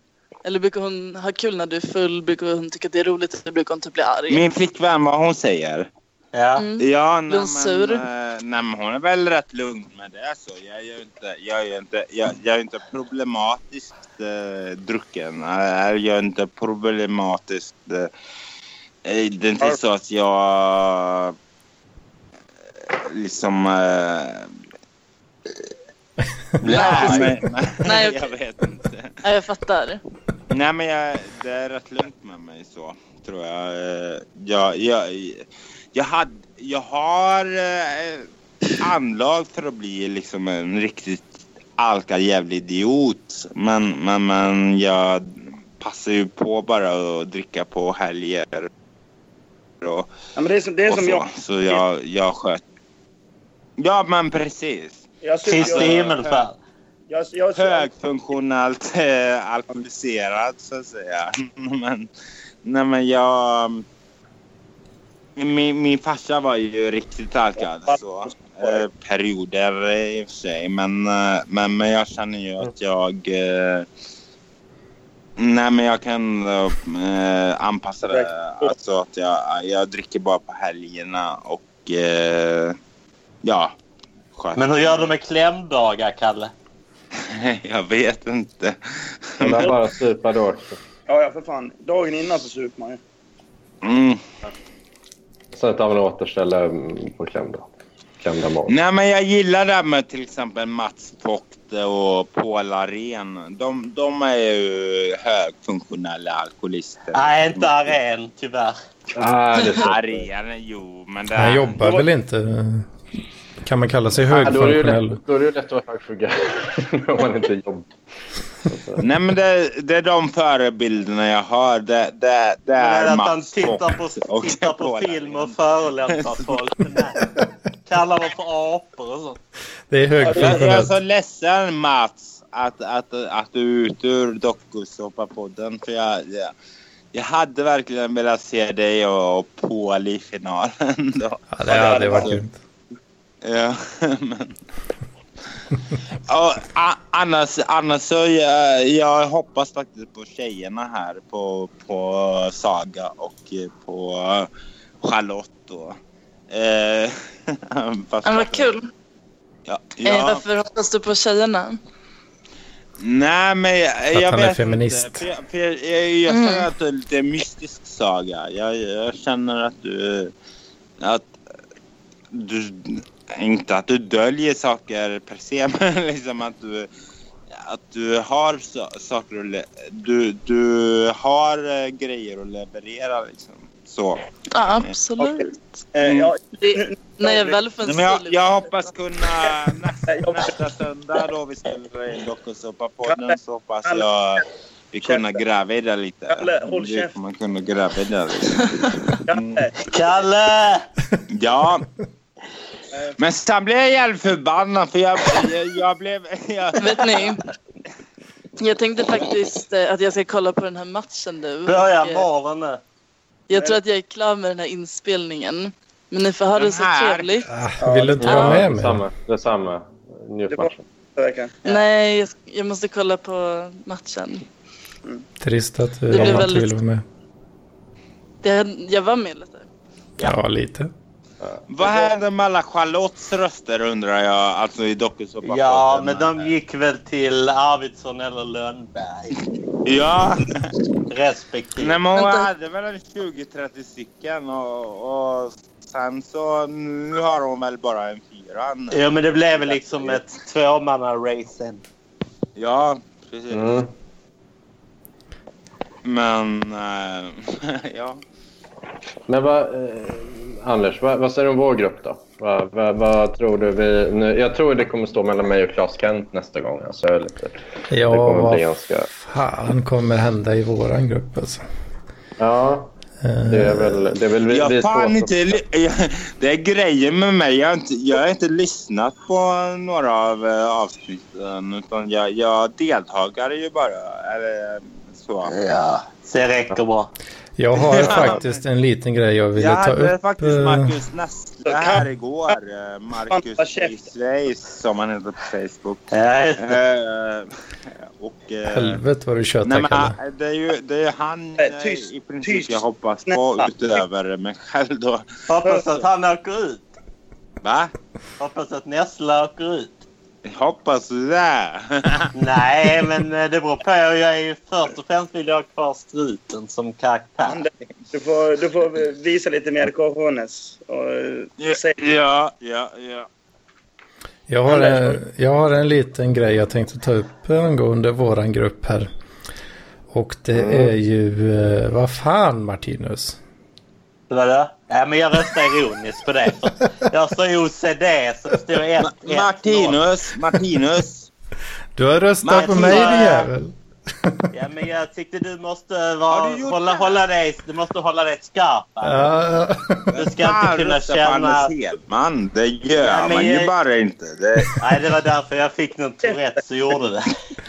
Speaker 7: Eller brukar hon ha kul när du är full? Brukar hon tycka att det är roligt? Eller brukar hon typ bli arg?
Speaker 4: Min flickvän, vad hon säger.
Speaker 6: Ja.
Speaker 7: Mm.
Speaker 4: Ja, nej, men,
Speaker 7: sur?
Speaker 4: eh, nej, men hon är väl rätt lugn med det. Så jag är ju inte, jag är ju inte, jag, jag är ju inte problematiskt eh, drucken. Eh, Jag är inte problematiskt... Eh, eh, det är inte så att jag liksom... eh, nej, men, nej,
Speaker 7: Nej,
Speaker 4: jag vet inte.
Speaker 7: Ja, jag fattar.
Speaker 4: Nej, men jag, det är rätt lugnt med mig så, tror jag. Eh, Jag, jag, jag, hade, jag har eh, anlag för att bli liksom en riktigt alkad jävla idiot. Men, men, men jag passar ju på bara att dricka på helger. Och,
Speaker 5: Ja, men det är som, det är
Speaker 4: och
Speaker 5: som
Speaker 4: så.
Speaker 5: jag...
Speaker 4: Så jag, jag sköt. Ja, men precis.
Speaker 5: Jag, super-
Speaker 6: Kristi
Speaker 5: jag,
Speaker 6: himmelsfärd.
Speaker 5: jag, jag, jag,
Speaker 4: högfunktionellt eh, alkoholiserad så att säga. men, nej men jag... mm, Min, min farsa var ju riktigt alkad så. Eh, perioder eh, i och för sig men, eh, men, men jag känner ju att jag... Eh, nej men jag kan eh, anpassa det. Alltså att jag, jag dricker bara på helgerna och eh, ja. sköter
Speaker 6: Men hur gör du med klämdagar, Kalle?
Speaker 4: jag vet inte.
Speaker 3: Men jag bara supa då också.
Speaker 5: ja, ja, för fan. Dagen innan så super man ju.
Speaker 4: Mm.
Speaker 3: Sen tar man och återställer mm, på klämda. Klämda mat.
Speaker 4: Nej, men jag gillar det här med till exempel Mats Vogte och Paul Arén. De, de är ju högfunktionella alkoholister.
Speaker 6: Nej, inte aren,
Speaker 4: Äh,
Speaker 6: tyvärr.
Speaker 3: Nej, Ah, det är så.
Speaker 4: Arén, jo, men det...
Speaker 2: Han jobbar väl inte? Kan man kalla sig
Speaker 3: Ja, Då är det ju
Speaker 2: högfunktionell?
Speaker 3: lätt- då är det ju lätt att vara högfugga. Om man inte jobbar.
Speaker 4: Nej, men det, det är de förebilderna jag har. Det, det, det
Speaker 6: Men
Speaker 4: är
Speaker 6: att han
Speaker 4: Mats
Speaker 6: tittar
Speaker 4: Vogte
Speaker 6: på,
Speaker 4: och
Speaker 6: tittar på
Speaker 4: Paul
Speaker 6: film och
Speaker 4: Arén.
Speaker 6: förolämpar folk. Nej. Kallar dem för apor och sånt.
Speaker 2: Det är
Speaker 4: Jag, jag är så
Speaker 2: högfunktionellt.
Speaker 4: ledsen Mats att, att, att du är ute ur dokusåpapodden. För jag, jag, jag hade verkligen velat se dig och, och Paul i finalen. Då.
Speaker 2: Ja, det hade varit grymt.
Speaker 4: Ja, men... Ja, a- annars, annars så jag, jag hoppas faktiskt på tjejerna här på, på Saga och eh, på Charlotte då. Eh, fast-
Speaker 7: Ja, vad kul.
Speaker 4: Ja,
Speaker 7: Eh,
Speaker 4: ja.
Speaker 7: varför hoppas du på tjejerna?
Speaker 4: Nej men jag,
Speaker 2: Att
Speaker 4: jag
Speaker 2: han är
Speaker 4: vet
Speaker 2: feminist.
Speaker 4: inte. För jag, för jag, jag, jag känner att du är lite mystisk Saga. Jag, jag känner att du... Att du... Inte att du döljer saker per se men liksom att du... Att du har sa- saker att le- du, du har eh, grejer att leverera liksom. Så.
Speaker 7: Ja, absolut.
Speaker 5: Eh, jag,
Speaker 7: Det, när jag väl får en
Speaker 4: Nej, men jag,
Speaker 7: stil-
Speaker 4: jag hoppas kunna nästa,
Speaker 5: Jag-
Speaker 4: nästa söndag då vi spelar in dokusåpapodden så hoppas jag vi kunna gräva vidare lite.
Speaker 5: Kalle, håll
Speaker 4: Vi
Speaker 5: käften.
Speaker 4: kommer kunna gräva vidare lite. Mm.
Speaker 5: Kalle,
Speaker 7: Mm.
Speaker 6: Kalle!
Speaker 4: Ja. Men sen blev jag jävligt förbannad för jag, jag, jag blev... Jag,
Speaker 7: Vet ni? Jag tänkte faktiskt eh, att jag ska kolla på den här matchen nu.
Speaker 6: Börja
Speaker 7: Och, eh,
Speaker 6: morgonen nu.
Speaker 7: Jag tror att jag är klar med den här inspelningen. Men ni får ha det
Speaker 4: Den
Speaker 7: så
Speaker 4: här.
Speaker 7: trevligt.
Speaker 2: Ah, Vill du inte vara
Speaker 3: Ja,
Speaker 2: med mig?
Speaker 3: detsamma. Detsamma. Njut
Speaker 5: Det var-
Speaker 3: matchen.
Speaker 5: förra veckan.
Speaker 7: Nej, jag, jag måste kolla på matchen.
Speaker 2: Trist att du
Speaker 7: Det blir
Speaker 2: inte
Speaker 7: väldigt-
Speaker 2: vill vara med.
Speaker 7: Det, jag var med lite.
Speaker 2: Ja, lite.
Speaker 4: vad hände med alla Charlottes röster undrar jag, alltså i dokusåpapodden?
Speaker 6: Ja, men de gick väl till Arvidsson eller Lönnberg.
Speaker 4: Ja. Nej,
Speaker 6: Respektive.
Speaker 4: men hon
Speaker 7: Vänta.
Speaker 4: hade väl en 20-30 stycken och, och sen så nu har hon väl bara en fyra.
Speaker 6: Ja, men det blev väl liksom ett tvåmanna-race.
Speaker 4: Ja, precis.
Speaker 3: Mm.
Speaker 4: Men eh, ja.
Speaker 3: Men vad, eh, Anders, vad, vad säger du om vår grupp då? Vad, vad, vad tror du vi... Nu, jag tror det kommer stå mellan mig och Claes Kent nästa gång. Alltså, jag är lite, det
Speaker 2: Ja,
Speaker 3: kommer bli
Speaker 2: vad
Speaker 3: ganska...
Speaker 2: fan kommer hända i våran grupp alltså?
Speaker 3: Ja,
Speaker 2: Eh,
Speaker 3: det är väl, det är väl vi, vi
Speaker 4: Jag
Speaker 3: två
Speaker 4: fan
Speaker 3: som-
Speaker 4: inte, ly- jag, det är grejer med mig. Jag har inte, jag har inte lyssnat på några av eh, avsnitten. Utan jag, jag deltagare ju bara. Eller så.
Speaker 6: Ja, så det räcker bra.
Speaker 2: Jag har faktiskt en liten grej jag ville
Speaker 4: Jag
Speaker 2: ta
Speaker 4: hade
Speaker 2: upp.
Speaker 4: faktiskt
Speaker 2: eh,
Speaker 4: Marcus Nessle här igår. eh,
Speaker 5: Fan,
Speaker 4: Marcus
Speaker 5: käft.
Speaker 4: i Schweiz som han heter på Facebook.
Speaker 6: Ja, just det.
Speaker 4: Eh, och, eh,
Speaker 2: Helvete vad du
Speaker 4: Nej,
Speaker 2: tjötar Kalle.
Speaker 4: men, det, är ju, det är ju han
Speaker 5: Nej,
Speaker 4: eh,
Speaker 5: tyst,
Speaker 4: i princip
Speaker 5: tyst.
Speaker 4: jag hoppas på
Speaker 5: Snälla.
Speaker 4: utöver mig själv då.
Speaker 6: Hoppas att han åker ut.
Speaker 4: Va?
Speaker 6: Hoppas att Nessla åker ut.
Speaker 4: Hoppas du det?
Speaker 6: Nej, men eh, det beror på. Jag är ju först och främst vill jag ha kvar struten som karaktär.
Speaker 5: Du får, du får visa lite mer cojones. Och eh,
Speaker 4: Ja,
Speaker 5: säg,
Speaker 4: ja, ja. ja.
Speaker 2: Jag har, en, jag har en liten grej jag tänkte ta upp angående våran grupp här. Och det är ju, eh, vad fan Martinus?
Speaker 6: Det var det? Ja, men jag röstar ironiskt på det. För jag står OCD så det står 1
Speaker 4: Ma- Martinus, Martinus.
Speaker 2: Du har röstat på
Speaker 6: Martin,
Speaker 2: mig
Speaker 6: vad
Speaker 2: din
Speaker 6: är-
Speaker 2: jävel.
Speaker 6: Ja, men jag tyckte du måste
Speaker 4: Har
Speaker 6: vara,
Speaker 4: du gjort
Speaker 6: hålla,
Speaker 4: det?
Speaker 6: hålla dig, du måste hålla dig skarp.
Speaker 2: Ja,
Speaker 6: Du ska inte
Speaker 4: Fan,
Speaker 6: kunna
Speaker 4: rösta på
Speaker 6: känna...
Speaker 4: Anders Hedman. Ah, Det gör
Speaker 6: Ja, men
Speaker 4: man
Speaker 6: jag-
Speaker 4: ju bara inte. Det...
Speaker 6: Nej, det var därför jag fick någon Tourette så gjorde det.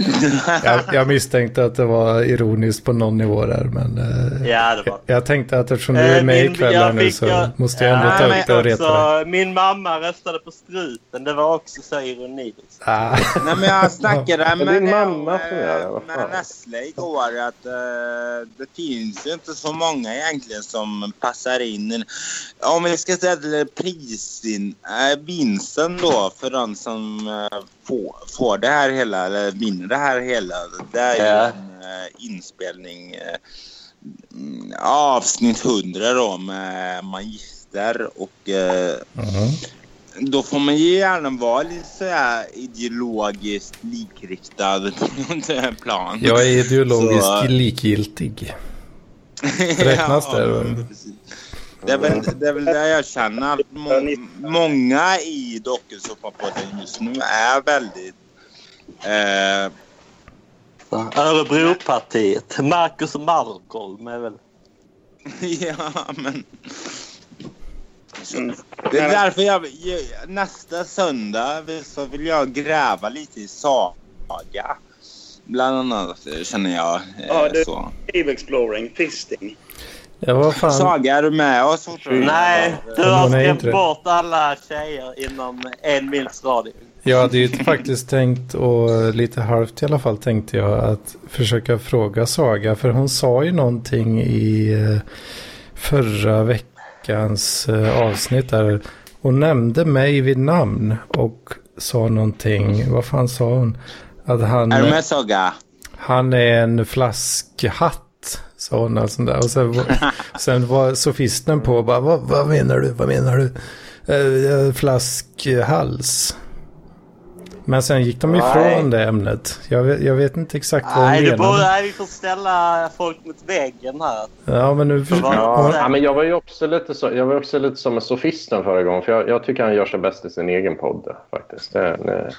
Speaker 2: jag, jag misstänkte att det var ironiskt på någon nivå där men... eh,
Speaker 6: Ja, det var
Speaker 2: Jag tänkte att eftersom du
Speaker 6: Eh,
Speaker 2: är med
Speaker 6: min-
Speaker 2: ikväll
Speaker 6: jag
Speaker 2: här nu
Speaker 6: fick,
Speaker 2: så
Speaker 6: jag-
Speaker 2: måste jag ändå
Speaker 6: Ja,
Speaker 2: ta
Speaker 6: men alltså-
Speaker 2: upp det och reta dig.
Speaker 6: också, Min mamma röstade på struten. Det var också så liksom. ironiskt.
Speaker 2: Ah.
Speaker 4: Nej, men jag snackade
Speaker 3: Men
Speaker 4: med, eh,
Speaker 3: det är mamma som gör det, vad fan.
Speaker 4: med, med Nessle igår att eh, det finns ju inte så många egentligen som passar in. Om vi ska säga till prisin, eh, vinsten då för den som eh, får, får det här hela eller vinner det här hela. Det är ju
Speaker 6: Ja.
Speaker 4: en eh, inspelning eh, mm, avsnitt 100 då med magister och eh,
Speaker 2: Mhm.
Speaker 4: då får man ju gärna vara lite sådär ideologiskt likriktad på något plan.
Speaker 2: Jag är ideologiskt
Speaker 4: Så, eh,
Speaker 2: likgiltig. räknas det, eller?
Speaker 4: precis. det är, väl, det är väl det jag känner. att Må, många i dokusåpapodden just nu är väldigt... Eh,
Speaker 6: Örebropartiet. Marcus Malmgolm är väl...
Speaker 4: ja, men... Det är därför jag, jag... Nästa söndag så vill jag gräva lite i saga. Bland annat känner jag. Eh,
Speaker 5: Ja, du-
Speaker 4: så.
Speaker 5: cave exploring, fisting.
Speaker 2: Ja, vad fan.
Speaker 4: Saga, är du med oss fortfarande?
Speaker 6: Nej, du
Speaker 2: Men
Speaker 6: har
Speaker 2: hon är inte
Speaker 6: skrämt
Speaker 2: det.
Speaker 6: bort alla tjejer inom en mils radio.
Speaker 2: Jag hade ju faktiskt tänkt, och lite halvt i alla fall tänkte jag, att försöka fråga Saga. För hon sa ju någonting i eh, förra veckans eh, avsnitt där. Hon nämnde mig vid namn och sa någonting. Vad fan sa hon? Att han...
Speaker 4: Är du med Saga?
Speaker 2: Han är en flaskhatt, sa hon. Och sånt där. Och sen, var- sen var sofisten på och bara, vad, vad menar du, vad menar du? Eh, eh, flaskhals. Men sen gick de ifrån
Speaker 6: Nej.
Speaker 2: det ämnet. Jag vet, jag vet inte exakt vad
Speaker 6: Nej,
Speaker 2: hon
Speaker 6: det borde,
Speaker 2: menade.
Speaker 6: nej, vi får ställa folk mot väggen här.
Speaker 2: Ja, men nu förstår
Speaker 6: Ja,
Speaker 2: jag.
Speaker 6: nej.
Speaker 3: Ja, men jag var ju också lite, så, jag var också lite som en sofisten förra gången. För jag, jag tycker han gör sig bäst i sin egen podd faktiskt. Det,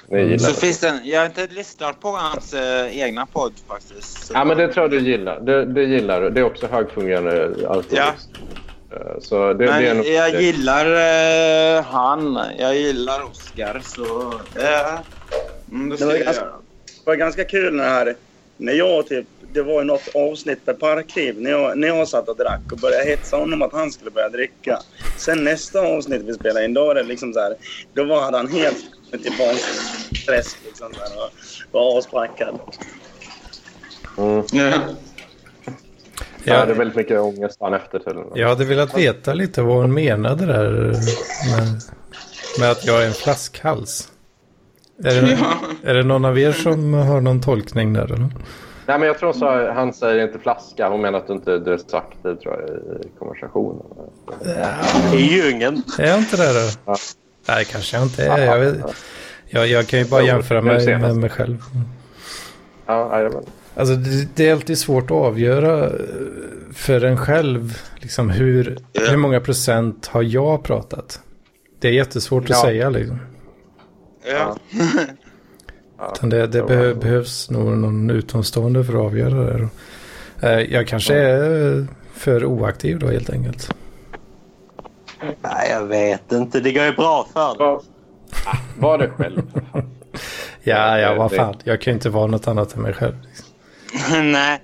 Speaker 3: ni, ni
Speaker 4: Mm.
Speaker 3: gillar det.
Speaker 4: Sofisten, jag har inte lyssnat på hans eh, egna podd faktiskt.
Speaker 3: Ja, men det tror jag du gillar. Det, det gillar du. Det är också högfungerande alkoholist.
Speaker 4: Ja.
Speaker 3: Eh, Så det, det är
Speaker 4: Men
Speaker 3: nog...
Speaker 4: jag gillar eh, han. Jag gillar Oscar, så... Eh, mm, det
Speaker 5: Det var
Speaker 4: ska jag
Speaker 5: ganska-
Speaker 4: göra.
Speaker 5: Det var ganska kul när, när jag typ, det var ju något avsnitt med Parkliv när jag, när jag satt och drack och började hetsa honom att han skulle börja dricka. Sen nästa avsnitt vi spelade in, då var det liksom så här, då var han helt tillbaka i stress liksom så här, och var aspackad.
Speaker 3: Mm. Jag hade
Speaker 2: Jag,
Speaker 3: väldigt mycket ångest dagen efter tydligen.
Speaker 2: jag hade velat veta lite vad hon menade där med, med att jag är en flaskhals. Är det, är det någon av er som har någon tolkning där? Eller?
Speaker 3: Nej, men jag tror så, han säger inte flaska. Hon menar att du inte du är så aktiv tror jag, i konversationen.
Speaker 6: I djungeln.
Speaker 2: Är jag inte det då?
Speaker 3: Ja.
Speaker 2: Nej, kanske jag inte är. Jag, vet, jag, jag kan ju bara
Speaker 3: Jo,
Speaker 2: jämföra
Speaker 3: nu
Speaker 2: mig
Speaker 3: senast.
Speaker 2: med mig själv.
Speaker 3: Ja, jajamän.
Speaker 2: Alltså, det, det är alltid svårt att avgöra eh, för en själv liksom, hur, hur många procent har jag pratat. Det är jättesvårt att
Speaker 3: Ja.
Speaker 2: säga. Liksom.
Speaker 4: Ja.
Speaker 2: Utan det det
Speaker 3: Ja.
Speaker 2: behö- behövs nog någon utomstående för att avgöra det. då. Eh, Jag kanske är för oaktiv då helt enkelt.
Speaker 6: Nej, jag vet inte. Det går ju bra för dig.
Speaker 3: Var, Ah, var det själv. för fan.
Speaker 2: Ja, ja,
Speaker 3: det-
Speaker 2: vad
Speaker 3: det-
Speaker 2: fan. Jag kan ju inte vara något annat än mig själv.
Speaker 4: Nej.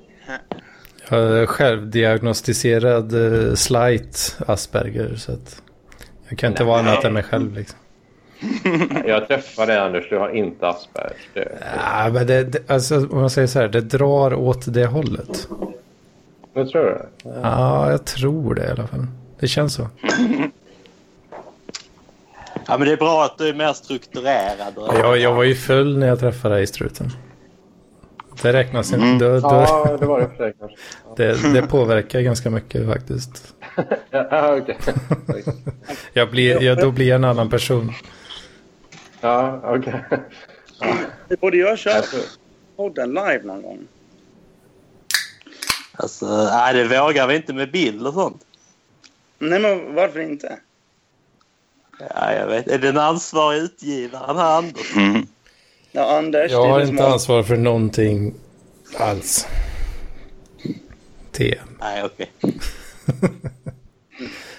Speaker 2: Jag är Eh, självdiagnostiserad eh, slight Asperger. Så att jag kan inte vara annat än mig själv. Liksom.
Speaker 3: Jag träffade dig, Anders. Du har inte Aspergers. Det-
Speaker 2: Ja, men det, det, alltså, om man säger så här, det drar åt det hållet.
Speaker 3: Nu tror jag det.
Speaker 2: Ja, jag tror det i alla fall. Det känns så.
Speaker 6: Ja, men det är bra att du är mer strukturerad. och-
Speaker 2: Jag, jag var ju full när jag träffade dig i struten. Det räknas inte. Då, då,
Speaker 3: Ja, det var det för sig kanske.
Speaker 2: det, det påverkar ganska mycket faktiskt.
Speaker 3: Ja, ja, okej.
Speaker 2: Jag blir, jag, då blir jag en annan person.
Speaker 3: Ja, okej.
Speaker 5: Vi borde göra köra
Speaker 3: Jag tror-
Speaker 5: podden live någon gång.
Speaker 6: Alltså, nej, det vågar vi inte med bild och sånt.
Speaker 5: Nej, men varför inte?
Speaker 6: Ja, jag vet. Är den ansvarig utgivaren här, Anders?
Speaker 4: Mm.
Speaker 5: Ja, Anders,
Speaker 2: Jag
Speaker 5: det är
Speaker 2: har
Speaker 5: du som
Speaker 2: inte ansvar för någonting alls. TM.
Speaker 6: Nej, okej.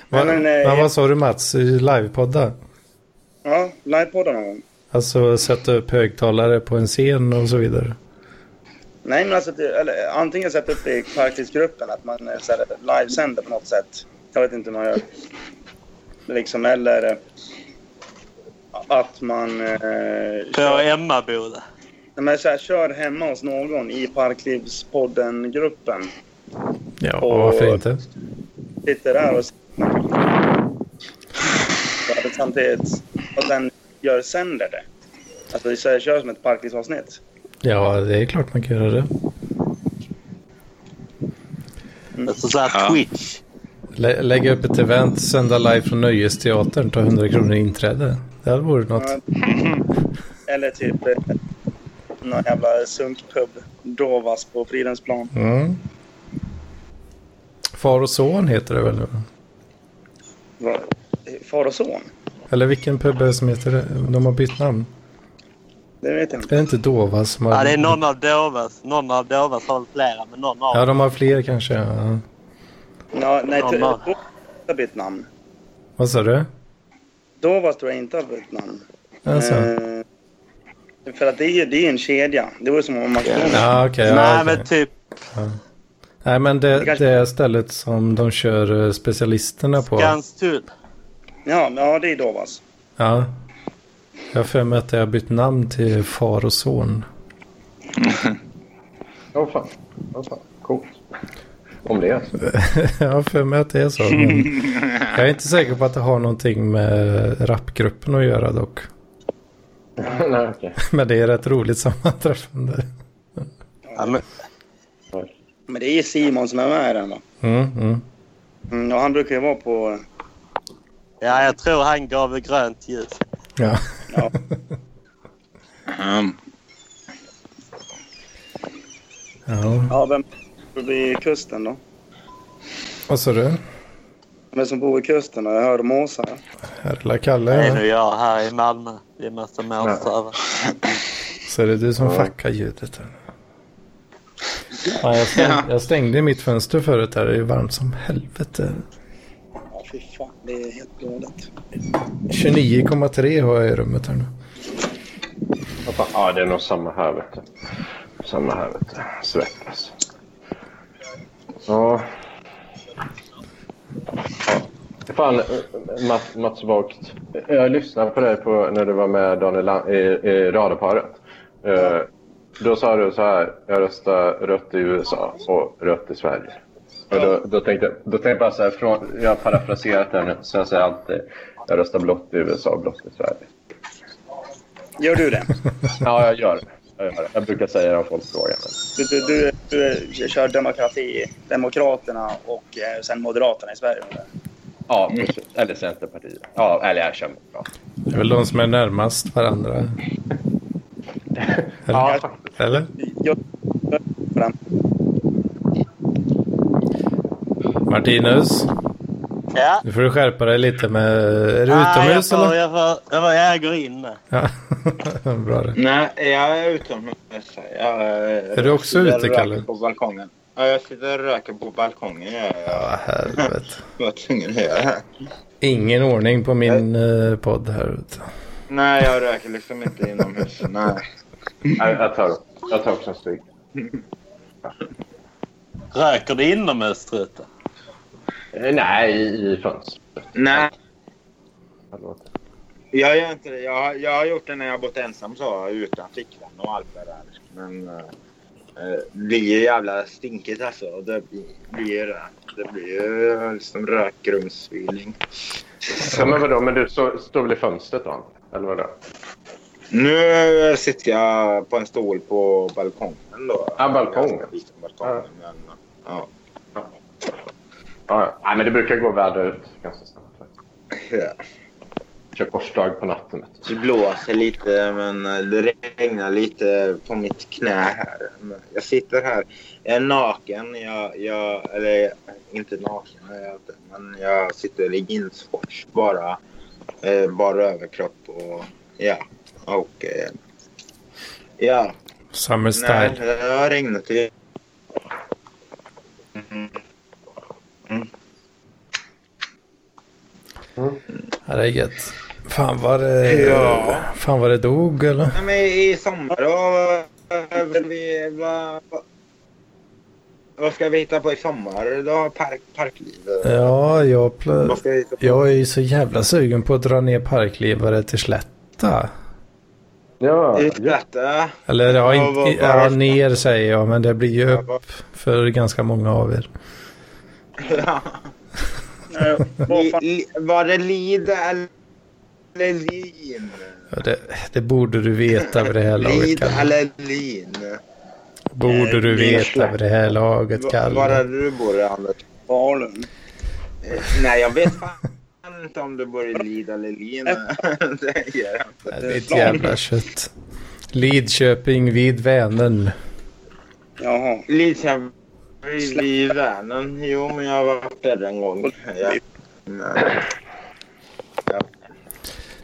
Speaker 2: Va,
Speaker 5: men, eh,
Speaker 2: men vad sa du Mats? Livepodda?
Speaker 5: Ja, livepodden någon gång.
Speaker 2: Alltså sätta upp högtalare på en scen och så vidare.
Speaker 5: Nej, men alltså, det- eller, antingen sätta upp det i Parklivsgruppen, att man eh, så här, livesänder på något sätt. Jag vet inte hur man gör. Liksom, eller eh, att man... Eh,
Speaker 6: På
Speaker 5: kör,
Speaker 6: Emmaboda.
Speaker 5: nej, men, så här, kör hemma hos någon i Parklivspodden-gruppen.
Speaker 2: Ja,
Speaker 5: Och-
Speaker 2: varför inte?
Speaker 5: Sitter där och snackar. Samtidigt. Och sen gör sänder det. Alltså, så här, kör som ett Parklivsavsnitt.
Speaker 2: Ja, det är klart man kan göra det.
Speaker 6: Alltså så här
Speaker 4: Ja.
Speaker 6: Twitch.
Speaker 2: Lä- lägga upp ett event, sända live från Nöjesteatern, ta 100 kronor i inträde. Det hade varit något.
Speaker 5: Eller typ eh, någon jävla sunkpub. Dovas på Fridens plan.
Speaker 2: Mm. Far och son heter det väl nu?
Speaker 5: Va- Far och son?
Speaker 2: Eller vilken pub är det som heter det? De har bytt namn.
Speaker 5: Det vet jag
Speaker 2: Det
Speaker 5: inte.
Speaker 2: är inte Dova som har...
Speaker 6: Ja, det är någon av Dovas. Någon av Dovas har väl flera, men någon av
Speaker 2: Ja, de har fler kanske. Ja.
Speaker 5: Ja, nej,
Speaker 6: Ja,
Speaker 5: t-
Speaker 6: va.
Speaker 5: Dovas har bytt namn.
Speaker 2: Vad sa du?
Speaker 5: Dovas tror jag inte har bytt namn.
Speaker 2: Alltså.
Speaker 5: Eh, för att det är ju det är en kedja. Det var som om man...
Speaker 2: Ja, okej. ja,
Speaker 6: Nej,
Speaker 2: okej.
Speaker 6: men typ...
Speaker 2: Nej, men det,
Speaker 5: Det kanske-
Speaker 2: det är stället som de kör eh, specialisterna på.
Speaker 6: Skanstull.
Speaker 5: Ja, ja, det är Dovas.
Speaker 2: Ja. Jag har för mig att jag har bytt namn till far och son.
Speaker 3: Åh fan. Åh fan. Coolt. Om det är så.
Speaker 2: jag har för mig att det är så. Men jag är inte säker på att det har någonting med rapgruppen att göra dock.
Speaker 3: Nej, okej.
Speaker 2: Men det är rätt roligt sammanträffande.
Speaker 6: Ja, men,
Speaker 5: Men det är Simon som är med i den va?
Speaker 2: Mm, mm.
Speaker 5: Mm, och han brukar ju vara på...
Speaker 6: ja, jag tror han gav grönt ljus.
Speaker 2: Ja.
Speaker 5: Ja.
Speaker 4: Mm.
Speaker 2: ja.
Speaker 5: Ja, vem bor vid kusten då?
Speaker 2: Vad sa du?
Speaker 5: Vem som bor vid kusten då? Jag hörde om Åsa. ja.
Speaker 2: Här är lilla
Speaker 6: Det är
Speaker 2: Kalle.
Speaker 6: nu jag här i Malmö. Det är massa målstövare.
Speaker 2: Så är det du som fuckar ljudet. här. Ja, jag, stäng, jag stängde mitt fönster förut här. Det är varmt som helvete.
Speaker 5: Ja, fy fan. Det är helt galet.
Speaker 2: 29,3 har jag i rummet här nu.
Speaker 3: Åh fan. Ja, det är nog samma här, vet du. Samma här, vet du. Svettas. Ja. ja. Fan, eh, Mats, Mats Vogt. Jag lyssnade på dig på, när du var med Daniel Lan- i, i radarparet. Eh, Då sa du så här, jag röstar rött i USA och rött i Sverige. Och då, då, tänkte, jag- då tänkte jag bara så här, från, jag har parafraserat det nu, så jag säger alltid jag röstar blått i USA och blått i Sverige.
Speaker 5: Gör du det?
Speaker 3: Ja, jag gör det. Jag, gör det. jag brukar säga det om folk frågar. Men...
Speaker 5: Du, du, du, du kör demokrati, Demokraterna och eh, sen Moderaterna i Sverige. eller?
Speaker 3: Ja, precis. Eller Centerpartiet. Ja, eller jag känner bra.
Speaker 2: Det är väl de som är närmast varandra.
Speaker 3: Ja,
Speaker 2: Eller?
Speaker 5: Jag,
Speaker 2: Martinus,
Speaker 6: Ja.
Speaker 2: nu får du skärpa dig lite med... Är du
Speaker 6: Nej,
Speaker 2: utomhus
Speaker 6: jag får,
Speaker 2: eller?
Speaker 6: jag, får, jag, får, jag går in med.
Speaker 2: Ja, bra det.
Speaker 8: Nej, jag är utomhus. här. Jag, eh,
Speaker 2: Är du också
Speaker 8: sitter och
Speaker 2: ute,
Speaker 8: röker
Speaker 2: Kalle?
Speaker 8: på balkongen. Ja, jag sitter och röker på balkongen. Jag, jag
Speaker 2: Ja, helvete.
Speaker 8: var tvungen att göra det.
Speaker 2: Ingen ordning på min eh, podd här ute.
Speaker 8: Nej, jag röker liksom inte inomhus. Nej.
Speaker 3: jag, jag tar Jag tar också en stryk.
Speaker 6: Röker du inomhus, Strute?
Speaker 3: Eh, Nej, i, i fönstret.
Speaker 8: Nej,
Speaker 3: Förlåt.
Speaker 8: jag gör inte det. Jag, har- jag har gjort det när jag har bott ensam så, utan flickvän och allt det där. Men eh, eh, blir ju jävla stinkigt alltså. Och Det blir, blir ju det. Det blir ju eh, liksom rökrumsfeeling.
Speaker 3: Ja, men vadå, men du så, står väl i fönstret då? Eller vadå?
Speaker 8: Nu sitter jag på en stol på balkongen då.
Speaker 3: Ja, balkongen.
Speaker 8: Ganska liten balkong,
Speaker 3: Ja.
Speaker 8: men, ja.
Speaker 3: Ja, ja. Nej, men det brukar gå väder ut ganska snabbt.
Speaker 8: Ja.
Speaker 3: Kör korsdrag på natten. vet du.
Speaker 8: Det blåser lite, men det regnar lite på mitt knä här. Men Jag sitter här. Jag är naken. Jag, jag, eller inte naken, jag är inte, men jag sitter i jeansshorts bara. Eh, bara överkropp och ja. Och eh, ja.
Speaker 2: Summer
Speaker 8: Nej,
Speaker 2: style.
Speaker 8: det har regnat. i-
Speaker 2: Ja, det är gött. Fan vad det,
Speaker 8: Ja.
Speaker 2: fan vad det dog eller?
Speaker 8: Nej, men i sommar då? vad- vi- Vad, vad, vad ska vi hitta på i sommar då? Park, parklivet?
Speaker 2: Ja, jag, pl-
Speaker 8: Vad ska vi hitta på?
Speaker 2: jag är ju så jävla sugen på att dra ner parklivare till Slätta.
Speaker 3: Ja, ja.
Speaker 8: Detta.
Speaker 2: Eller ja,
Speaker 8: Ja,
Speaker 2: inte,
Speaker 8: vad-
Speaker 2: ja,
Speaker 8: varför?
Speaker 2: ner säger jag, men det blir ju
Speaker 8: Ja,
Speaker 2: upp för ganska många av er.
Speaker 5: Eh, vad
Speaker 8: Li-
Speaker 5: fan-
Speaker 8: li- Var det Lida eller eller Lin?
Speaker 2: Ja, Det, det borde du veta vid det här laget,
Speaker 8: Lida
Speaker 2: Kalle.
Speaker 8: eller Lin?
Speaker 2: Borde du
Speaker 8: Nej,
Speaker 2: veta vid det här laget,
Speaker 8: Va- Var är
Speaker 2: Kalle.
Speaker 8: du bor Anders?
Speaker 5: Falun.
Speaker 8: Eh, Nej, jag vet fan inte om du bor i Lida eller Lin. Det gör jag inte.
Speaker 2: Ja, Det är ett jävla kött. Lidköping vid Vänern.
Speaker 5: Jaha.
Speaker 8: Lidköping i Vänern. Jo, men jag har varit där en gång. Ja. Nej.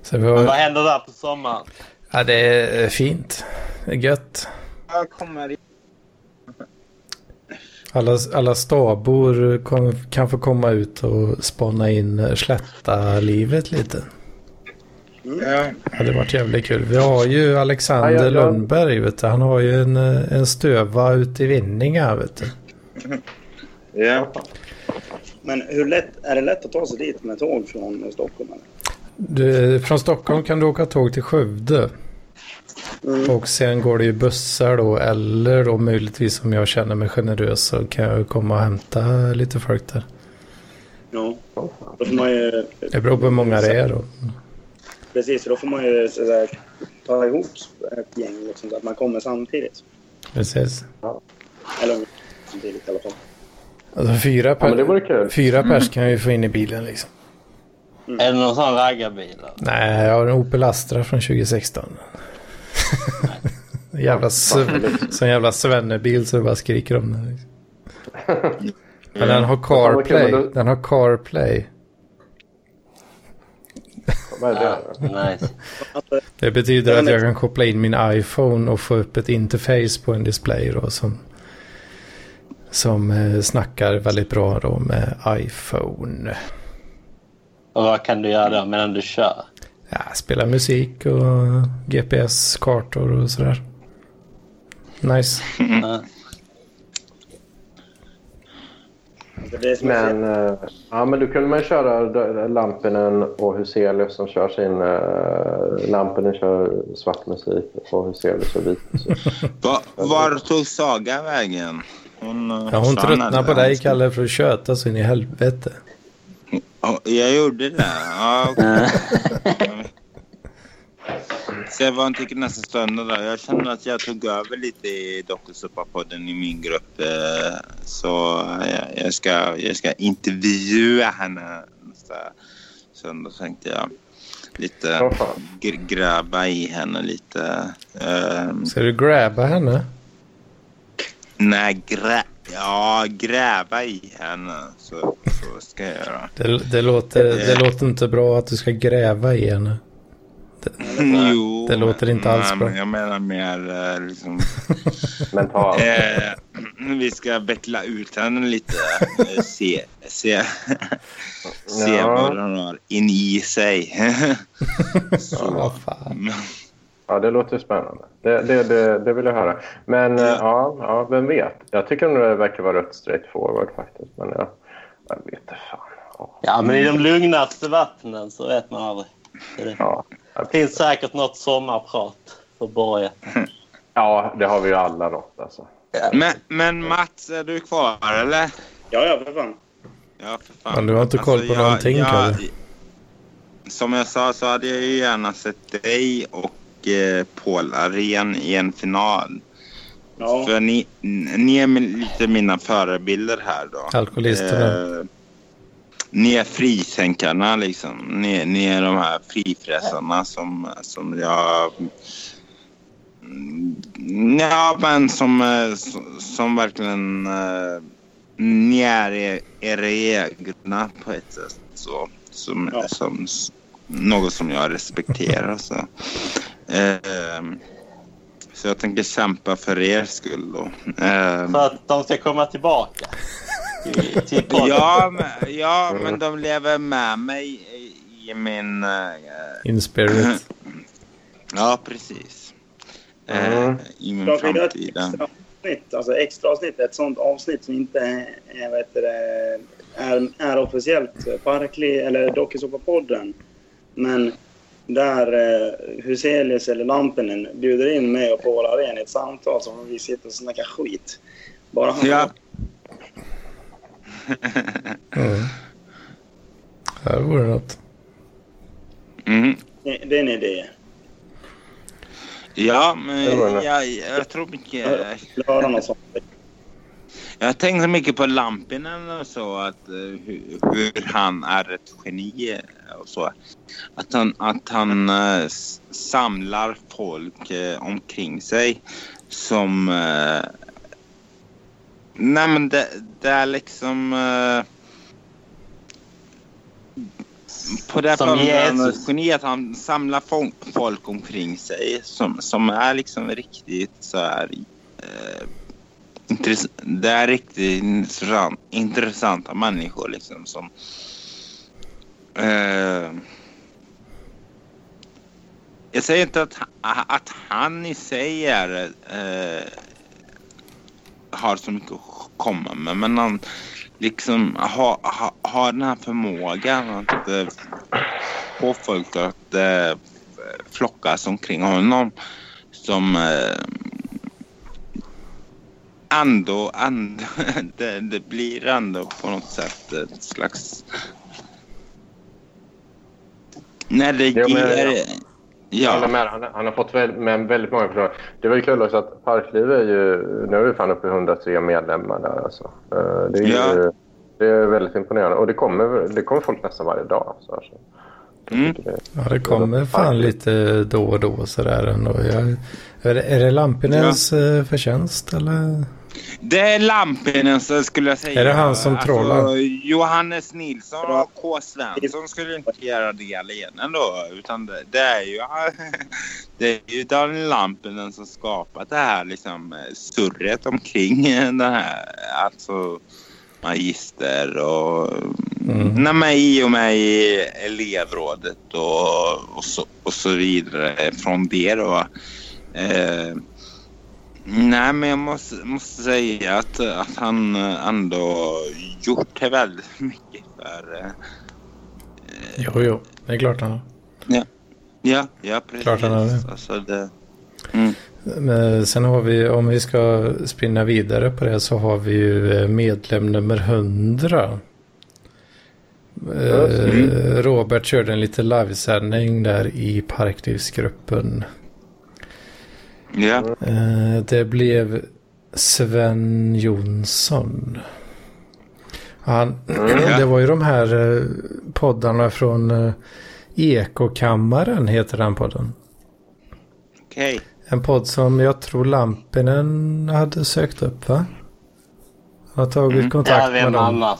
Speaker 2: Så vi
Speaker 6: Men vad
Speaker 2: har,
Speaker 6: händer där på sommaren?
Speaker 2: ja, det är eh, fint. Det är gött.
Speaker 8: Jag kommer i-
Speaker 2: Alla, alla stabor kom, kan få komma ut och spana in slätta-livet lite.
Speaker 8: Ja.
Speaker 2: Ja, det hade varit jävligt kul. Vi har ju Alexander
Speaker 3: Ja, ja, ja.
Speaker 2: Lundberg, vet du. Han har ju en, eh, en stöva ute i Vinninga, vet du.
Speaker 8: Ja.
Speaker 5: Men hur lätt, är det lätt att ta sig dit med tåg från Stockholm? Eller?
Speaker 2: du. Från Stockholm kan du åka tåg till Skövde.
Speaker 3: Mm.
Speaker 2: Och sen går det ju bussar då, eller då möjligtvis om jag känner mig generös så kan jag komma och hämta lite folk där.
Speaker 5: Ja. Då får man ju,
Speaker 2: Det beror på hur många det är då.
Speaker 5: precis, då får man ju så där, ta ihop ett gäng liksom, så att man kommer samtidigt.
Speaker 2: Precis.
Speaker 5: Eller samtidigt i alla fall.
Speaker 2: Alltså fyra, per,
Speaker 3: men det vore kul. Mm.
Speaker 2: fyra pers kan jag ju få in i bilen liksom.
Speaker 6: Är det någon sån raggarbil? eller?
Speaker 2: Nej, jag har en Opel Astra från 2016. jävla sv- sån jävla svennebil så det bara skriker om den. Liksom. Men den har CarPlay. Den har CarPlay.
Speaker 3: Vad är det?
Speaker 6: Nice.
Speaker 2: Det betyder att jag kan koppla in min iPhone och få upp ett interface på en display då som, som eh, snackar väldigt bra då med iPhone.
Speaker 6: Och vad kan du göra då medan du kör?
Speaker 2: Ja, spela musik och GPS-kartor och sådär. Nice.
Speaker 6: Ja.
Speaker 5: Det blir som
Speaker 3: Men, eh, ja, men då kunde man köra d- Lampinen och Huselius som kör sin... Eh, Lampinen kör svart musik och Huselius kör vit musik.
Speaker 4: Va, var tog Saga vägen? Hon, eh,
Speaker 2: Ja, hon
Speaker 4: försvann,
Speaker 2: tröttnar på
Speaker 4: eller?
Speaker 2: dig Kalle för att köta så in i helvete.
Speaker 4: Ja, jag gjorde det. Ja, okej. Så jag var inte nästan stående där. Jag känner att jag tog över lite i Dokusåpa-podden i min grupp. eh, Så eh, jag ska, jag ska intervjua henne nästa söndag tänkte jag. Lite
Speaker 3: Vad fan.
Speaker 4: gr- grabba i henne lite. Ehm,
Speaker 2: Ska du grabba henne?
Speaker 4: nej, grä, ja, gräva i henne. Så, så ska jag göra.
Speaker 2: Det, det, låter, det låter inte bra att du ska gräva i henne.
Speaker 4: Jo,
Speaker 2: Mm, Det låter inte alls
Speaker 4: nej,
Speaker 2: bra.
Speaker 4: men Jag menar mer eh, liksom,
Speaker 3: Mentalt.
Speaker 4: eh, vi ska veckla ut henne lite. Eh, se se, se
Speaker 3: Ja.
Speaker 4: vad hon har in i sig.
Speaker 2: Vad
Speaker 4: Så.
Speaker 2: fan.
Speaker 3: Ja, det låter spännande. Det, det, det, det vill jag höra. Men eh, ja, ja, vem vet? Jag tycker nog det verkar vara rätt straight forward faktiskt. Men jag, jag vet inte fan. Ja,
Speaker 6: ja, men i de lugnaste vattnen så vet man aldrig. Det
Speaker 3: ja.
Speaker 6: finns säkert något sommarprat för Borge.
Speaker 3: ja, det har vi ju alla något alltså.
Speaker 4: Men, men Mats, är du kvar eller?
Speaker 5: Ja, ja, för fan.
Speaker 4: Ja, för fan. Alltså,
Speaker 2: Men du har inte koll på någonting, Kalle.
Speaker 4: Som jag sa så hade jag ju gärna sett dig och eh, Paul Aren i en final.
Speaker 5: Ja,
Speaker 4: För ni, ni är min- lite mina förebilder här då.
Speaker 2: Alkoholisterna.
Speaker 4: Eh, ni är fritänkarna liksom. Ni, ni är de här frifräsarna som, som jag... Mm, Ja, men som, eh, som, som verkligen... eh, Ni är e- era egna på ett sätt. Så, som,
Speaker 5: Ja.
Speaker 4: som, s- något som jag respekterar. Så. Ehm, så jag tänker kämpa för er skull då. Ehm,
Speaker 6: För att de ska komma tillbaka. Till, till podden.
Speaker 4: Ja, men, ja, men de lever med mig i, i min... eh,
Speaker 2: In spirit.
Speaker 4: ja, precis. Eh,
Speaker 3: Mm.
Speaker 4: I min
Speaker 5: jag vill ha ett
Speaker 4: framtida.
Speaker 5: extra avsnitt, alltså extra avsnitt, ett sånt avsnitt som inte är, vad heter det, är, är officiellt Parkli eller Dokusåpa-podden. Men där eh, Huselius eller Lampinen bjuder in mig och Paul Arén i ett samtal så får vi sitta och snacka skit. Bara han
Speaker 4: Ja,
Speaker 2: Mm. Här vore något.
Speaker 4: mm.
Speaker 5: Det det är en idé.
Speaker 4: ja men
Speaker 3: Det var det.
Speaker 4: jag, jag tror mycket...
Speaker 5: Höra något sånt.
Speaker 4: Jag tänker mycket på Lampinen och så. Att, eh, hur, hur han är ett geni och så. Att han, att han eh, s- samlar folk eh, omkring sig som... Eh, nej men det, det är liksom... Eh, på det här
Speaker 6: Som
Speaker 4: planet är han
Speaker 6: Jesus.
Speaker 4: ett geni att han samlar fol- folk omkring sig som, som är liksom riktigt så här... Eh, intress- det är riktigt intressant, intressanta människor liksom som... Eh, jag säger inte att, att han i sig är, eh, har så mycket att komma med, men han liksom har, har, har den här förmågan att eh, få folk att eh, flockas omkring honom som eh, ändå, ändå det, det blir ändå på något sätt ett slags... När det
Speaker 3: Jo, men-
Speaker 4: ger...
Speaker 3: Jag håller
Speaker 4: Ja,
Speaker 3: med. Han, han har fått väl, med väldigt många personer. Det var ju kul också att Parkliv är ju... Nu är vi fan uppe i 103 medlemmar där alltså. Eh, Det är ju... Det är väldigt imponerande. Och det kommer, det kommer folk nästan varje dag. alltså. Så här, så. Jag
Speaker 4: Mm.
Speaker 3: tycker det-
Speaker 2: Ja, det kommer fan lite då och då sådär ändå. Jag, är det, är det Lampinens eh, förtjänst eller?
Speaker 4: det är Lampinen så skulle jag säga. Alltså,
Speaker 2: Är det han som trollar?
Speaker 4: Johannes Nilsson och K. Svensson skulle inte göra det alena då. Utan det, det är ju, det är ju Daniel Lampinen som skapat det här liksom, eh, surret omkring den här alltså, magister och
Speaker 2: Mm.
Speaker 4: Nej, men i och med i elevrådet och, och, så, och så vidare från det då. Eh, nej, men jag måste, måste säga att, att han eh, ändå gjort det väldigt mycket för... Eh,
Speaker 2: Jo, jo. Det är klart han har.
Speaker 4: ja, ja, precis.
Speaker 2: Klart han har det.
Speaker 4: Alltså det.
Speaker 2: Men Sen har vi, om vi ska spinna vidare på det, så har vi ju eh, medlem nummer 100. Eh, Robert körde en liten livesändning där i Parklivsgruppen.
Speaker 4: Ja,
Speaker 2: Eh, Det blev Sven Jonsson. Han, det var ju de här eh, poddarna från eh, Ekokammaren, heter den podden.
Speaker 4: okej.
Speaker 2: En podd som jag tror Lampinen hade sökt upp va? Han har tagit
Speaker 6: Ja,
Speaker 2: kontakt med
Speaker 6: vem
Speaker 2: dem.
Speaker 6: annars?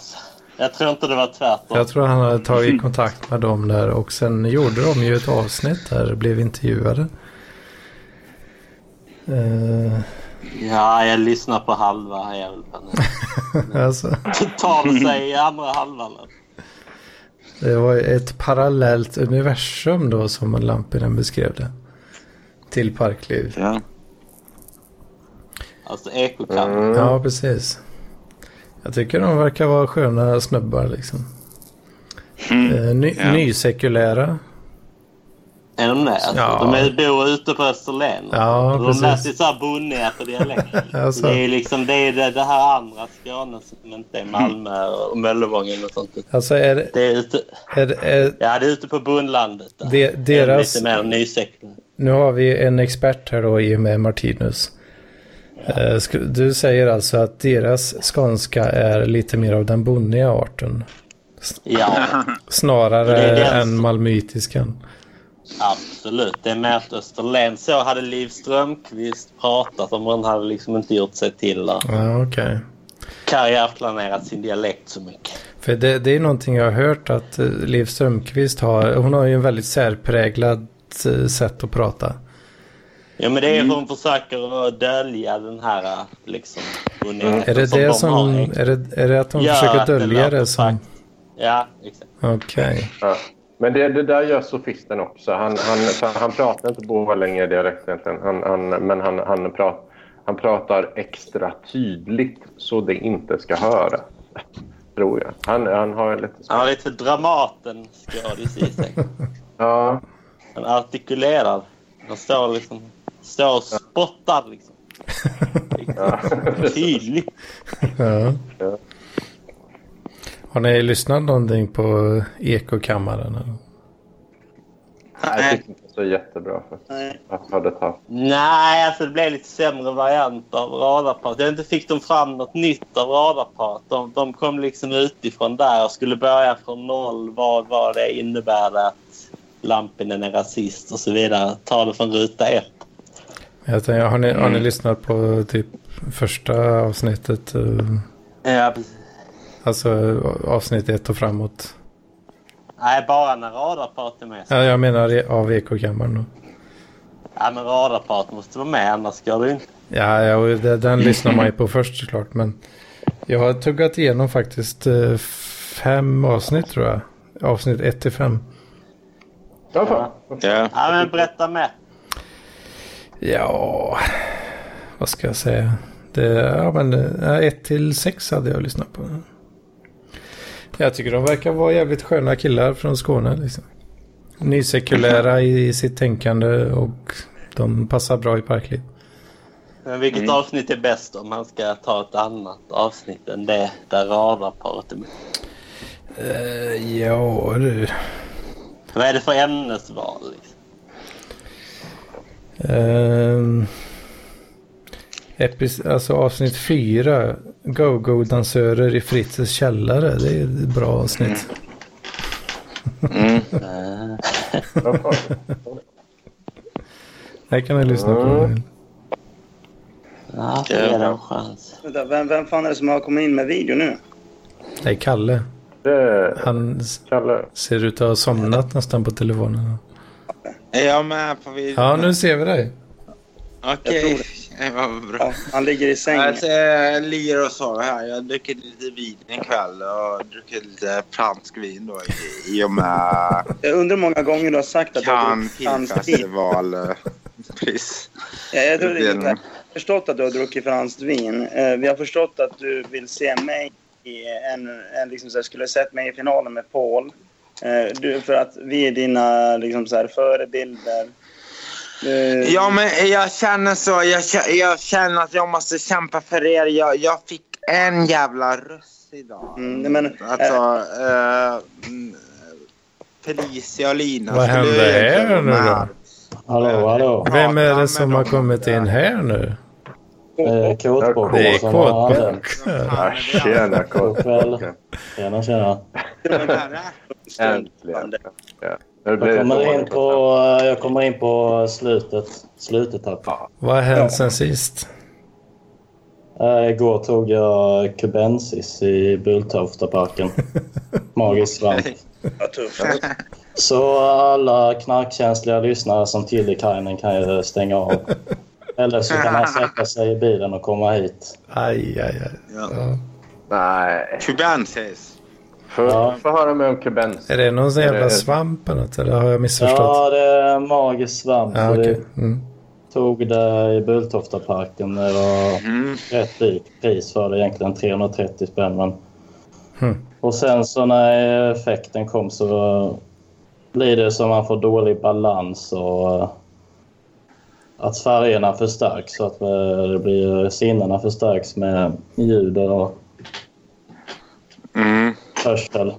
Speaker 6: Jag tror inte det var tvärtom.
Speaker 2: Jag tror han hade tagit kontakt med dem där och sen gjorde de ju ett avsnitt där blev intervjuade. Eh,
Speaker 6: Ja, jag lyssnar på halva här. jag vill fan inte.
Speaker 2: alltså,
Speaker 6: Tar sig i andra halvan.
Speaker 2: det var ju ett parallellt universum då som Lampinen beskrev det. Till Parkliv.
Speaker 4: Ja.
Speaker 6: Alltså ekokammaren.
Speaker 2: Ja, precis. Jag tycker de verkar vara sköna
Speaker 6: Mm.
Speaker 2: snubbar liksom. Eh, ny,
Speaker 4: ja.
Speaker 2: Nysekulära.
Speaker 6: Är de det? Alltså,
Speaker 2: Ja.
Speaker 6: De är, bor ute på Österlen.
Speaker 2: Ja,
Speaker 6: Och de
Speaker 2: precis.
Speaker 6: lär sig så här bonnier-dialekt.
Speaker 2: Alltså.
Speaker 6: Det är liksom det, är det, det här andra Skåne som inte är Malmö och Möllevången och sånt.
Speaker 2: Alltså är,
Speaker 6: Det är ute,
Speaker 2: är, är
Speaker 6: ja, det är ute på bondlandet. där. Det
Speaker 2: de,
Speaker 6: är
Speaker 2: deras...
Speaker 6: Lite mer nysäcklat.
Speaker 2: Nu har vi en expert här då i och med Martinus. Eh, sk- Du säger alltså att deras skånska är lite mer av den bonniga arten.
Speaker 6: Ja,
Speaker 2: Snarare
Speaker 6: Det är den
Speaker 2: än
Speaker 6: som-
Speaker 2: malmöitiskan.
Speaker 6: absolut. Det är mer att Österlen. Så hade Liv Strömquist pratat om hon hade liksom inte gjort sig till att
Speaker 2: Ja, okej.
Speaker 6: karriärplanerat sin dialekt så mycket.
Speaker 2: För det, det är någonting jag har hört att eh, Liv Strömquist har. Hon har ju en väldigt särpräglad eh, sätt att prata.
Speaker 6: Ja, men det
Speaker 2: Mm.
Speaker 6: är hur hon försöker att dölja den här liksom,
Speaker 2: Mm. Är det, det som,
Speaker 6: har.
Speaker 2: är, det, är det att hon
Speaker 6: Gör
Speaker 2: försöker
Speaker 6: att det
Speaker 2: dölja
Speaker 6: låter
Speaker 2: det som...
Speaker 6: fakt- Ja, exakt.
Speaker 2: Okej.
Speaker 3: Ja. Men det, det där gör sofisten också. Han, han, så han pratar inte Borlänge-dialekt egentligen. Han, han, men han, han, pratar, han pratar extra tydligt så det inte ska höra. Tror jag. Han, han har en lite...
Speaker 6: Han har lite Dramaten-skådis i sig.
Speaker 3: Ja,
Speaker 6: Han artikulerar. Han står liksom... Står och spottar liksom.
Speaker 3: ja.
Speaker 6: Tydligt.
Speaker 2: Ja.
Speaker 3: Ja.
Speaker 2: Har ni lyssnat någonting på eh, Ekokammaren? eller?
Speaker 3: Jag tyckte inte så jättebra faktiskt.
Speaker 5: Nej.
Speaker 3: Jag hörde ett tag.
Speaker 6: Nej, alltså det blev lite sämre variant av radarpart. Jag inte fick de fram något nytt av radarpart. De, de kom liksom utifrån där och skulle börja från noll. Vad, vad det innebär att Lampinen är rasist och så vidare. Ta det från ruta ett.
Speaker 2: Jag tänkte, har, ni,
Speaker 6: Mm.
Speaker 2: har ni lyssnat på typ första avsnittet? eh,
Speaker 6: Ja, precis.
Speaker 2: Alltså eh, avsnitt ett och framåt.
Speaker 6: Nej, bara när radarpart är med.
Speaker 2: Ja, jag menar i- av Ekokammaren. då.
Speaker 6: Ja, men radarpart måste vara med, annars går det ju inte.
Speaker 2: Ja, ja och det, den lyssnar man ju på först såklart. Men jag har tuggat igenom faktiskt eh, fem avsnitt tror jag. Avsnitt ett till fem.
Speaker 3: Ja, fan.
Speaker 4: Ja.
Speaker 6: Ja, men berätta mer.
Speaker 2: Ja, vad ska jag säga? Det, ja, men 1 till 6 hade jag lyssnat på. Jag tycker de verkar vara jävligt sköna killar från Skåne. Liksom. Nysekulära i sitt tänkande och de passar bra i parkliv.
Speaker 6: Men vilket avsnitt är bäst om man ska ta ett annat avsnitt än det där radarparet är med?
Speaker 2: Eh, ja, du.
Speaker 6: Vad är det för ämnesval? Liksom?
Speaker 2: Ehm, epis, alltså avsnitt 4. Go-go-dansörer i Fritzes källare. Det är ett bra avsnitt.
Speaker 6: Eh,
Speaker 3: Ja, fan.
Speaker 2: Det kan ni lyssna på. om ni vill.
Speaker 6: Ja, det är en chans.
Speaker 5: Vänta, Vem, vem fan är det som har kommit in med video nu?
Speaker 2: Det är Kalle.
Speaker 3: Det,
Speaker 2: Han s-
Speaker 3: Kalle.
Speaker 2: ser ut att ha somnat nästan på telefonen.
Speaker 4: Är jag med på videon?
Speaker 2: Ja, nu ser vi dig.
Speaker 4: Okej. Okay. Vad bra.
Speaker 5: Ja, han ligger i sängen.
Speaker 8: Alltså, jag ligger och sover här. Jag har druckit lite vin ikväll och druckit lite fransk vin då i- i och med
Speaker 5: Jag undrar hur många gånger du har sagt att du har
Speaker 8: Cannes
Speaker 5: druckit franskt vin.
Speaker 8: filmfestival. eh, Pris.
Speaker 5: Ja, Eh, Jag tror det är
Speaker 8: Den-
Speaker 5: lite- förstått att du har druckit franskt vin. Eh, Vi har förstått att du vill se mig i en... en liksom så här, skulle ha sett mig i finalen med Paul. Eh, Du, för att vi är dina liksom så här, förebilder. Eh,
Speaker 8: Ja, men jag känner så. Jag, kä- jag känner att jag måste kämpa för er. Jag, jag fick en jävla röst idag.
Speaker 5: Mm, men,
Speaker 8: Alltså, eh, mm, Felicia och Lina.
Speaker 2: Vad
Speaker 8: skulle
Speaker 2: händer
Speaker 8: egentligen
Speaker 2: här
Speaker 8: vara
Speaker 2: nu
Speaker 8: med
Speaker 2: då?
Speaker 8: här.
Speaker 9: Hallå, hallå.
Speaker 2: Vem är
Speaker 8: Ja,
Speaker 2: det
Speaker 8: men
Speaker 2: som har
Speaker 8: de-
Speaker 2: kommit in här nu?
Speaker 9: Eh, Kåtbock.
Speaker 2: Det är
Speaker 9: som har använt.
Speaker 2: Kåtbock.
Speaker 3: Ja, tjena, Karl.
Speaker 9: Tjena, tjena.
Speaker 3: Äntligen. Ja. Det blir
Speaker 9: Jag kommer
Speaker 3: ett
Speaker 9: in
Speaker 3: år.
Speaker 9: på, eh, jag kommer in på slutet. Slutet här.
Speaker 2: Vad har hänt sen sist?
Speaker 9: Eh, igår tog jag kubensis i Bulltoftaparken. Magisk svamp.
Speaker 5: vad tufft.
Speaker 9: Så alla knarkkänsliga lyssnare som Tillikainen kan ju stänga av. Eller så kan han sätta sig i bilen och komma hit.
Speaker 2: Aj, aj, aj. Ja.
Speaker 3: Nej.
Speaker 8: Kubensis.
Speaker 3: Får
Speaker 9: Ja.
Speaker 3: får höra mig om kubens.
Speaker 2: Är det någon sån
Speaker 3: Är
Speaker 2: jävla
Speaker 3: det-
Speaker 2: svamp eller något? Eller har jag missförstått?
Speaker 9: Ja, det är magisk svamp.
Speaker 2: Ja,
Speaker 9: så
Speaker 2: okej.
Speaker 9: vi
Speaker 2: Mm.
Speaker 9: tog det i Bulltoftaparken. Det var rätt dyrt pris för det egentligen. 330 spänn. Men...
Speaker 2: Hmm.
Speaker 9: Och sen så när effekten kom så blir det så man får dålig balans och eh, att färgerna förstärks så att eh, det blir sinnena förstärks med ljud och
Speaker 4: Mm.
Speaker 9: hörsel.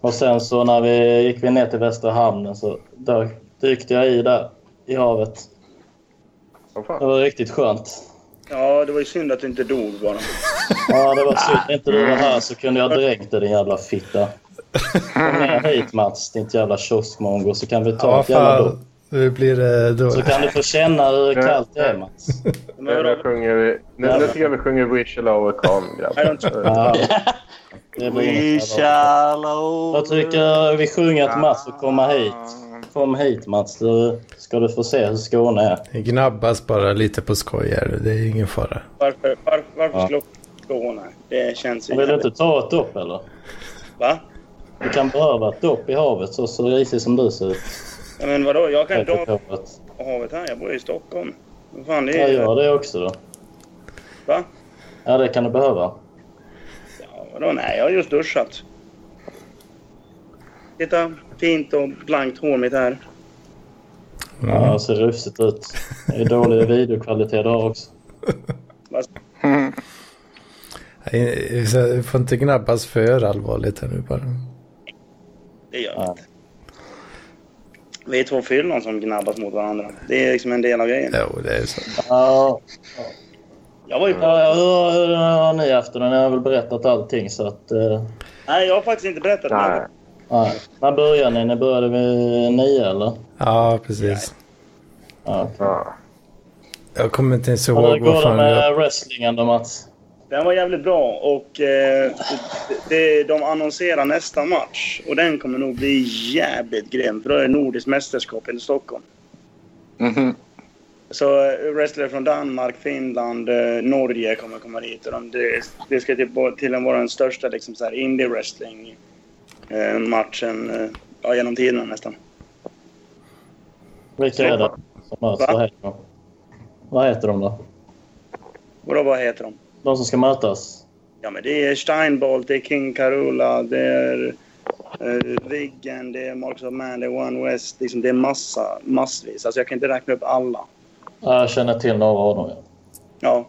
Speaker 9: Och sen så när vi gick vi ner till Västra hamnen så där dykte jag i där i havet.
Speaker 3: Som
Speaker 9: Det
Speaker 3: fan.
Speaker 9: var riktigt skönt.
Speaker 5: Ja, det var ju synd att du inte dog bara.
Speaker 9: Ja, det var synd. Inte du var här så kunde jag dränkt dig din jävla fitta. Kom ner hit Mats, ditt jävla kioskmongo, så kan vi ta
Speaker 2: Ja,
Speaker 9: ett jävla dopp.
Speaker 2: fan. Nu blir det då.
Speaker 9: Så kan du få känna hur kallt det är Mats.
Speaker 5: Men
Speaker 3: Nu,
Speaker 5: vadå?
Speaker 3: nu, sjunger vi, nu, nu tycker jag vi sjunger We shall overcome.
Speaker 5: I don't-
Speaker 3: grabbar.
Speaker 9: Ja. Det blir
Speaker 6: We
Speaker 9: inget jävla-
Speaker 6: shall
Speaker 9: Jag tycker vi sjunger att Mats får komma hit. Kom hit Mats, du ska du få se hur Skåne är.
Speaker 2: Det gnabbas bara lite på skoj här. Det är ingen fara.
Speaker 5: Varför, var, varför
Speaker 9: Ja.
Speaker 5: slå Skåne? Det känns ju...
Speaker 9: Vill du
Speaker 5: jävligt.
Speaker 9: inte ta ett dopp eller?
Speaker 5: Va?
Speaker 9: Du kan behöva ett dopp i havet så, så risig som du ser ut.
Speaker 5: Ja, men vadå? Jag kan
Speaker 9: Jag
Speaker 5: inte ha
Speaker 9: havet.
Speaker 5: havet här. Jag bor ju i Stockholm. Vad fan, det
Speaker 9: Jag
Speaker 5: är
Speaker 9: gör det också då.
Speaker 5: Va?
Speaker 9: Ja, det kan du behöva.
Speaker 5: Ja, vadå? Nej, jag har just duschat. Titta, fint och blankt hår mitt här.
Speaker 2: Mm.
Speaker 9: Ja, det ser rufsigt ut. Det är dålig videokvalitet där också.
Speaker 2: Nej, vi ska- Vi eh, får inte gnabbas för allvarligt här nu bara.
Speaker 5: Det gör jag
Speaker 9: Ja.
Speaker 5: inte. Vi är två fyllon som gnabbas mot varandra. Det är liksom en del av grejen.
Speaker 2: Jo, det är så.
Speaker 9: Ja,
Speaker 5: Jag var ju på...
Speaker 9: ja, hur, hur har ni haft det? Ni har väl berättat allting så att... Eh,
Speaker 5: Nej, jag har faktiskt inte berättat
Speaker 3: Nej.
Speaker 5: något.
Speaker 9: nej. När började ni? Ni började vid nio eller?
Speaker 2: Ja, precis.
Speaker 9: Ja.
Speaker 3: Ja.
Speaker 2: Jag kommer inte ens
Speaker 9: Och hur
Speaker 2: ihåg vad
Speaker 9: går det
Speaker 2: fan jag...
Speaker 9: med wrestlingen då Mats?
Speaker 5: Den var jävligt bra och eh, det, de annonserar nästa match. Och den kommer nog bli jävligt grym för då är det Nordiskt mästerskap i Stockholm.
Speaker 4: Mhm.
Speaker 5: Så eh, wrestlare från Danmark, Finland, eh, Norge kommer komma dit. Och de, det, det ska typ vara- till och med vara den största liksom, så här indie-wrestling-matchen eh, ja, genom tiderna nästan.
Speaker 9: Vilka är det som möts?
Speaker 5: Va?
Speaker 9: Vad heter de? Vad heter de då?
Speaker 5: Och då, vad heter de?
Speaker 9: De som ska mötas?
Speaker 5: Ja, men det är Steinbolt, det är King Karula, det är eh, Viggen, det är Marcus of Man, det är One West. Liksom, det är massa, massvis. Alltså, jag kan inte räkna upp alla.
Speaker 9: Ja, jag känner till några av dem. ja.
Speaker 5: Ja.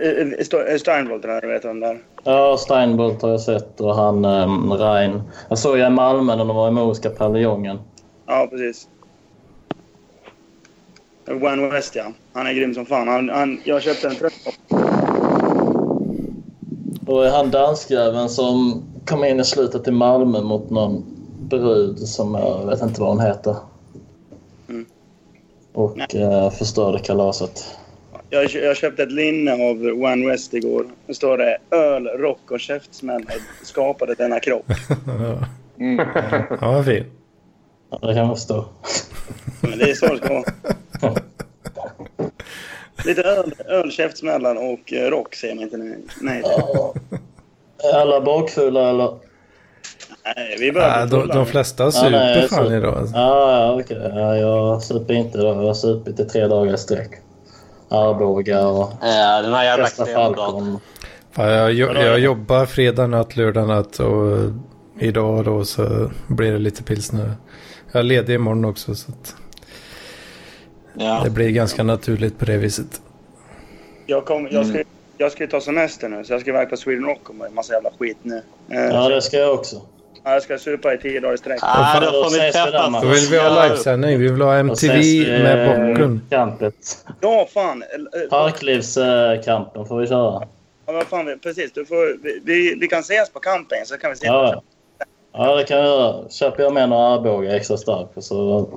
Speaker 5: Eh, eh, Sto- eh, Steinbolt, den här, du vet om där.
Speaker 9: Ja, Steinbolt har jag sett och han um, Rein. Jag såg jag i Malmö när de var i Moska paviljongen.
Speaker 5: Ja, precis. One West, ja. Han är grym som fan. Han, han, jag köpte en tröja.
Speaker 9: Och är han danskjäveln som kom in i slutet i Malmö mot någon brud som jag vet inte vad hon heter.
Speaker 5: Mm.
Speaker 9: Och eh, förstörde kalaset.
Speaker 5: Jag, kö- jag köpte ett linne av One West igår. Det står det öl, rock och käftsmällar skapade denna kropp.
Speaker 2: Ja. Ja, vad fin.
Speaker 9: Ja, det kan jag förstå.
Speaker 5: Men det är så det ska vara. Lite öl, öl käftsmällar och eh, rock säger man inte nej- nej till.
Speaker 9: Ja. Är alla bakfulla eller?
Speaker 5: Nej, vi börjar
Speaker 2: Ja,
Speaker 5: bli
Speaker 2: de,
Speaker 5: fulla.
Speaker 2: de flesta
Speaker 9: nej,
Speaker 2: super
Speaker 9: jag
Speaker 2: fan
Speaker 9: tror-
Speaker 2: idag. alltså.
Speaker 9: Ja, ja okej. Ja, jag super inte då. Jag har supit i tre dagar i sträck. Arboga och
Speaker 6: Ja, Eh, den här jävla
Speaker 9: Västra
Speaker 6: klämdatorn.
Speaker 9: Falcon.
Speaker 2: Fan, jag, jo- jag jobbar fredag natt, lördag natt och idag då så blir det lite pilsner. Jag är ledig imorgon också så att
Speaker 6: Ja.
Speaker 2: det blir ganska naturligt på det viset.
Speaker 5: Jag, kom, jag, ska, Mm. jag ska ju ta semester nu, så jag ska iväg på Sweden Rock och en massa jävla skit nu. Eh,
Speaker 9: Ja, det ska jag också.
Speaker 5: ja, Jag ska supa i tio dagar i sträck.
Speaker 6: Ah, då
Speaker 9: Då
Speaker 6: får vi
Speaker 9: ses vi där,
Speaker 6: träffas.
Speaker 9: Mats.
Speaker 2: Då vill vi ha livesändning. Vi vill ha
Speaker 9: Alltså, Och ses
Speaker 2: MTV
Speaker 9: vi,
Speaker 2: med
Speaker 9: eh,
Speaker 2: bocken.
Speaker 9: Kampet.
Speaker 5: Ja, fan! eh, eh,
Speaker 9: Parklivskampen får vi köra.
Speaker 5: Ja, vad fan, vi- precis. Du får, vi, vi, vi kan ses på campingen så kan vi se.
Speaker 9: Ja, ja. ja det kan vi göra. Köper jag med några Arboga extra stark och så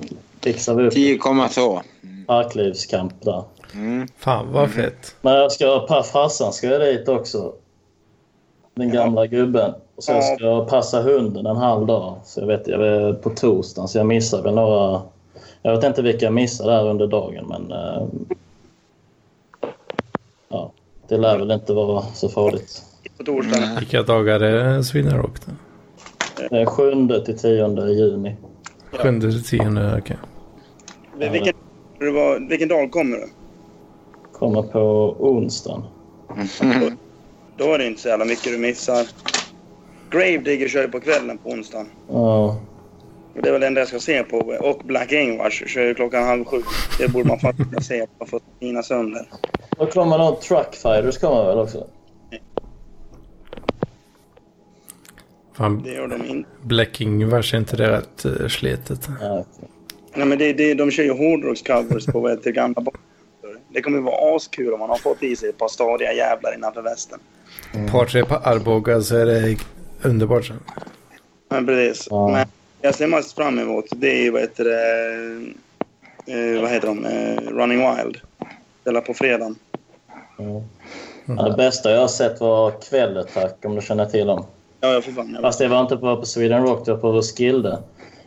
Speaker 9: fixar vi upp
Speaker 8: 10,2.
Speaker 9: parklivskamp där.
Speaker 2: Fan vad fett.
Speaker 9: Men jag ska, pa- farsan ska jag dit också. Den gamla gubben. Och sen ska jag passa hunden en halv dag. Så jag vet, jag är på torsdagen så jag missar väl några... Jag vet inte vilka jag missar där under dagen men... eh, ja, det lär väl inte vara så farligt.
Speaker 5: på torsdagen.
Speaker 2: Vilka dagar är Sweden Rock då?
Speaker 9: Det är 7 till 10 juni.
Speaker 2: Sjunde till tionde, okej.
Speaker 5: Vi- Vilken, det var, vilken dag kommer du?
Speaker 9: Kommer på onsdagen.
Speaker 5: Då är det inte så jävla mycket du missar. Gravedigger kör ju på kvällen på onsdagen.
Speaker 9: Ja.
Speaker 5: Det är väl det enda jag ska se på. Och Black Ingvars kör ju klockan halv sju. Det borde man faktiskt kunna se på för att mina sönder.
Speaker 9: Då kommer nog Truckfighters kommer väl också?
Speaker 2: Fan,
Speaker 5: Det gör de inte.
Speaker 2: Black-Ingvars, är inte det rätt eh, slitet?
Speaker 9: Ja, okej.
Speaker 5: Nej, men det, det, de kör ju hårdrockscovers på vad heter, gamla bakgrunder. Det kommer ju vara askul om man har fått i sig ett par stadiga jävlar innanför västen.
Speaker 2: Par tre på Arboga så är det underbart sen.
Speaker 5: Men precis.
Speaker 9: Ja.
Speaker 5: Men jag ser mest fram emot det är ju vad heter det... eh, vad heter de? Eh, Running Wild. Spelar på fredag.
Speaker 9: Ja. Ja, det bästa jag har sett var Kvällattack, om du känner till dem.
Speaker 5: Ja, jag får fan. Jag vet.
Speaker 9: Fast det var inte bara på Sweden Rock, det var på Roskilde.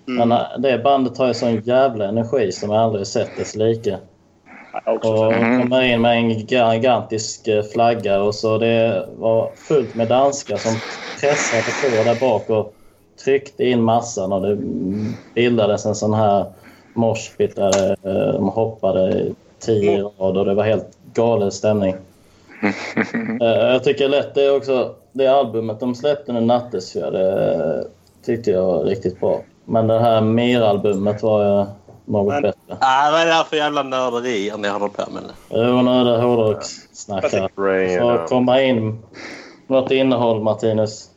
Speaker 9: Men äh, det bandet har ju sån jävla energi som jag aldrig sett dess like.
Speaker 5: Jag också.
Speaker 9: Och kommer in med en gigantisk eh, flagga och så det var fullt med danskar som pressade på där bak och tryckte in massan och det bildades en sån här moshpit där eh, de hoppade i tio i rad och det var helt galen stämning. Eh, Jag tycker lätt det är också det albumet de släppte nu, Nattesfjärd, det eh, tyckte jag var riktigt bra. Men det här Mir-albumet var eh, något
Speaker 5: Men-
Speaker 9: bättre.
Speaker 6: Ah, vad är det här för jävla nörderier ni håller på med nu?
Speaker 9: Jo, nu är det hårdrockssnack här.
Speaker 3: Rain,
Speaker 9: Så komma in något innehåll, Martinus.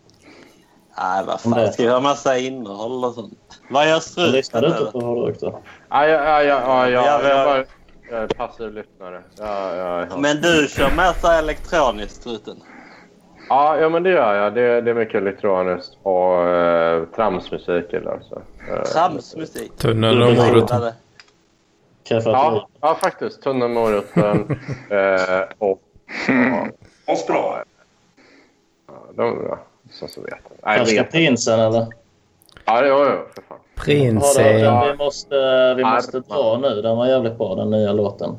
Speaker 6: Ah, vad
Speaker 9: Om det.
Speaker 6: fan, ska vi ha massa innehåll och sånt? Vad gör struten
Speaker 9: Lyssnar du inte
Speaker 6: eller?
Speaker 9: på hårdrock då?
Speaker 3: Ja, ja, ja,
Speaker 6: Ja,
Speaker 3: ja, ja,
Speaker 6: vi
Speaker 3: jag
Speaker 6: har-
Speaker 3: är bara jag är passiv lyssnare. Ja, ja, ja.
Speaker 6: Men du kör massa elektroniskt struten.
Speaker 3: Ja, ja, men det gör jag. Det, det är mycket elektroniskt och eh, tramsmusik. Eller, alltså. Eh,
Speaker 6: Tramsmusik.
Speaker 2: Tunneln och moroten.
Speaker 6: Vad
Speaker 9: Kaffe
Speaker 3: Ja, ja, faktiskt. Tunna moroten. eh, och
Speaker 5: Asbra.
Speaker 3: ja, de ja, som så vet. Nej,
Speaker 9: Kanske
Speaker 3: vet.
Speaker 9: prinsen eller?
Speaker 3: Ja, det var ju för fan.
Speaker 9: Har du,
Speaker 2: Prinsen.
Speaker 9: den vi måste, vi
Speaker 3: Ja.
Speaker 9: måste dra nu. Den var jävligt bra den nya låten.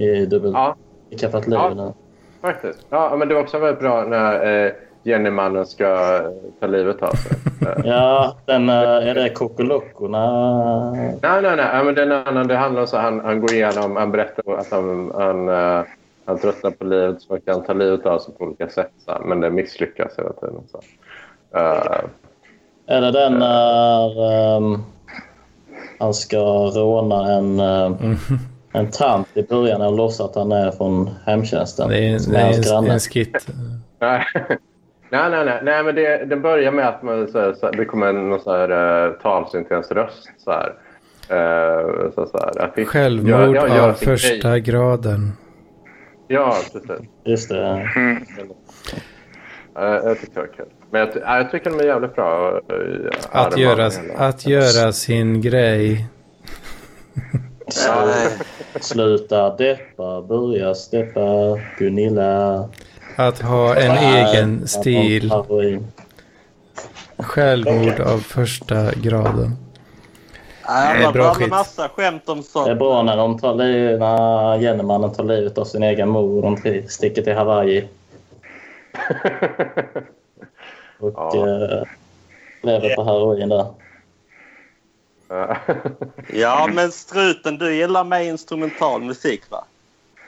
Speaker 9: I dubbel...
Speaker 3: Ja.
Speaker 9: I Kaffat liv
Speaker 3: Ja.
Speaker 9: nu.
Speaker 3: Faktiskt. Ja, men det var också väldigt bra när eh, Jenny-mannen ska eh, ta livet av sig. Eh,
Speaker 9: Ja, den, eh, är det Kokolockorna?
Speaker 3: nej, nej, nej. Ja, men den annan, det handlar om så här, han, han går igenom, han berättar att han, han, eh, han tröttnar på livet så kan han ta livet av sig på olika sätt. Så här, men det misslyckas hela tiden. Så. här. Eh,
Speaker 9: Är det
Speaker 2: Eh.
Speaker 9: den när ehm, han ska råna en, eh,
Speaker 2: Mm.
Speaker 9: en tant i början och låtsas att han är från hemtjänsten?
Speaker 2: Det är,
Speaker 9: som
Speaker 2: det
Speaker 9: är hans
Speaker 2: är en,
Speaker 9: granne.
Speaker 2: en skit.
Speaker 3: Nej, nej, nej. nej. nej men det, det börjar med att man, så här, så här, det kommer en någon så här, eh, talsynt i ens röst. Så här. Eh, så, så här, att-
Speaker 2: Självmord
Speaker 3: gör- gör
Speaker 2: av
Speaker 3: sin grej.
Speaker 2: första graden.
Speaker 3: Ja, precis.
Speaker 9: Just det.
Speaker 3: Eh, jag tyckte det var kul. Men jag, ty- ja, jag tycker de är jävligt bra. eh, i
Speaker 2: Att
Speaker 3: armarna
Speaker 2: göra,
Speaker 3: hela.
Speaker 2: att göra sin grej.
Speaker 9: Sluta deppa, börja steppa, Gunilla.
Speaker 2: Att ha en egen stil.
Speaker 9: Heroin.
Speaker 2: Självmord av första graden.
Speaker 6: Ah,
Speaker 2: Nej,
Speaker 6: vad
Speaker 2: bra
Speaker 6: bra
Speaker 2: skit.
Speaker 6: med massa skämt om
Speaker 9: Det är
Speaker 6: sånt.
Speaker 9: bra när de tar liv, när Jennemannen tar livet av sin egen mor och de tri- sticker till Hawaii. Och
Speaker 3: Ja.
Speaker 9: eh, lever på heroin där.
Speaker 3: Ja.
Speaker 6: Ja, men struten, du gillar mer instrumental musik va?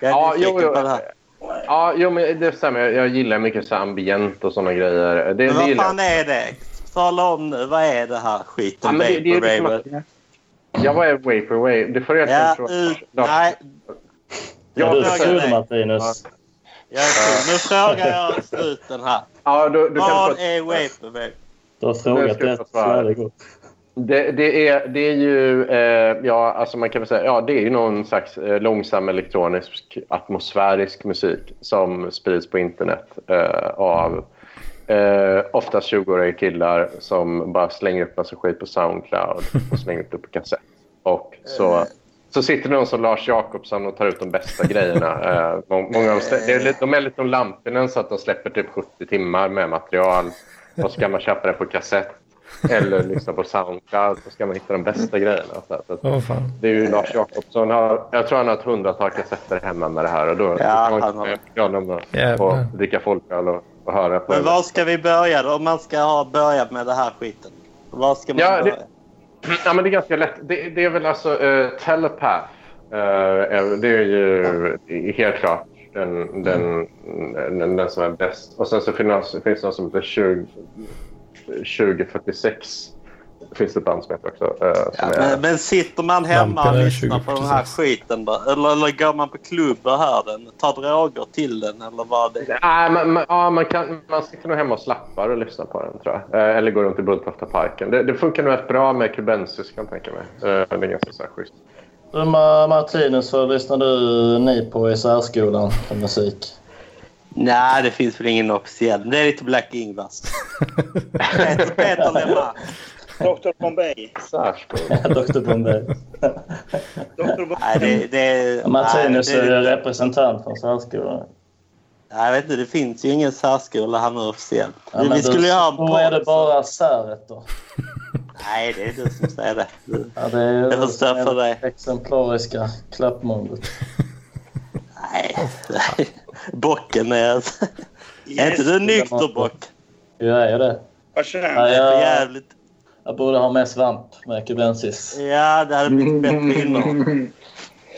Speaker 6: Jag är
Speaker 3: Ja,
Speaker 6: nyfiken
Speaker 3: jo, jo.
Speaker 6: på det här.
Speaker 3: ja, jo, men det stämmer. Jag, jag gillar mycket så här ambient och såna grejer. Det, det
Speaker 6: Men vad
Speaker 3: gillar jag.
Speaker 6: fan är det? Tala om nu, vad är det här skiten?
Speaker 3: Ja, men det- det är liksom
Speaker 6: Vaporwave?
Speaker 3: Jag var Vapor Wave. Du får egentligen
Speaker 6: Ja,
Speaker 3: fråga.
Speaker 6: ut,
Speaker 3: Lars.
Speaker 6: nej,
Speaker 9: Är
Speaker 3: Ja,
Speaker 9: du
Speaker 3: det-
Speaker 9: full Martinus?
Speaker 6: jag är full. Nu frågar jag struten här.
Speaker 3: Ja, du, du kan
Speaker 6: Vad
Speaker 3: få-
Speaker 6: är Vaporwave?
Speaker 9: Du har frågat
Speaker 3: ska jag
Speaker 9: rätt
Speaker 3: få
Speaker 9: så
Speaker 3: svara.
Speaker 9: är det gott.
Speaker 3: Det, det, är, det är ju eh, ja, alltså man kan väl säga, ja, det är ju någon slags eh, långsam elektronisk atmosfärisk musik som sprids på internet eh, av eh, oftast 20-åriga killar som bara slänger upp massa skit på Soundcloud och slänger upp det på kassett. Och så, så sitter det någon som Lars Jakobsson och tar ut de bästa grejerna. Eh, må- många av dem, det är lite, de är lite som Lampinen så att de släpper typ 70 timmar med material och så kan man köpa det på kassett eller lyssna på Soundcloud så ska man hitta de bästa grejerna. Så att-
Speaker 2: Åh fan.
Speaker 3: det är ju Lars Jakobsson. Har, jag tror han har ett hundratal kassetter hemma med det här. Och då då kan man
Speaker 6: han har
Speaker 3: ha honom och,
Speaker 2: Jävlar.
Speaker 3: och dricka folköl och, och höra på
Speaker 6: Men
Speaker 3: det.
Speaker 6: var ska vi börja då? Om man ska ha börjat med det här skiten. Var ska man
Speaker 3: Ja, det-
Speaker 6: börja?
Speaker 3: Ja, men det är ganska lätt. Det, det är väl alltså eh, Telepath. Eh, är- det är ju i- helt klart den, den, den, den som är alltså- bäst. Och sen så finns, finns det någon som heter 20, 2046 finns det ett band som heter också. eh, som
Speaker 6: Ja,
Speaker 3: är,
Speaker 6: men, men sitter man hemma och
Speaker 2: Lamporna är
Speaker 6: lyssnar på den här
Speaker 2: 20%.
Speaker 6: skiten då? Eller, eller går man på klubb och hör den? Tar droger till den eller vad det
Speaker 3: Nej, man, man, ja, man, kan, man sitter nog hemma och slappar och lyssnar på den tror jag. Eh, eller går runt i Bulltoftaparken. Det, det funkar nog rätt bra med kubensis kan jag tänka mig. Eh, det är ganska så här schysst.
Speaker 9: Du Ma- Martinus, vad lyssnar du ni på i särskolan för musik?
Speaker 6: Nej, det finns väl ingen officiell. Det är lite Black Ingvars. Peter, Peter Lemark.
Speaker 5: Dr. Bombay.
Speaker 3: Särskilt.
Speaker 9: Dr Bombay.
Speaker 5: Dr. Bombay.
Speaker 6: Nej, det, det,
Speaker 9: Martinus eh,
Speaker 6: nej,
Speaker 9: är
Speaker 6: det,
Speaker 9: ju representant för särskolan.
Speaker 6: nej, jag vet inte, det finns ju ingen särskola här nu officiellt.
Speaker 9: Ja,
Speaker 6: vi
Speaker 9: men
Speaker 6: vi skulle
Speaker 9: då-
Speaker 6: ju ha en
Speaker 9: Då är det
Speaker 6: podd.
Speaker 9: bara säret då.
Speaker 6: Nej, det är du som säger det. Du-
Speaker 9: Ja, det är
Speaker 6: Jag får stå för det.
Speaker 9: exemplariska klappmålet.
Speaker 6: Nej. Bocken är... Är inte du nykter, Bock?
Speaker 9: Jag är det.
Speaker 5: Vad skönt.
Speaker 9: Ja,
Speaker 6: Det är för
Speaker 9: jag,
Speaker 6: jävligt.
Speaker 9: jag borde ha med svamp med kubensis.
Speaker 6: Ja, det hade blivit bättre innan.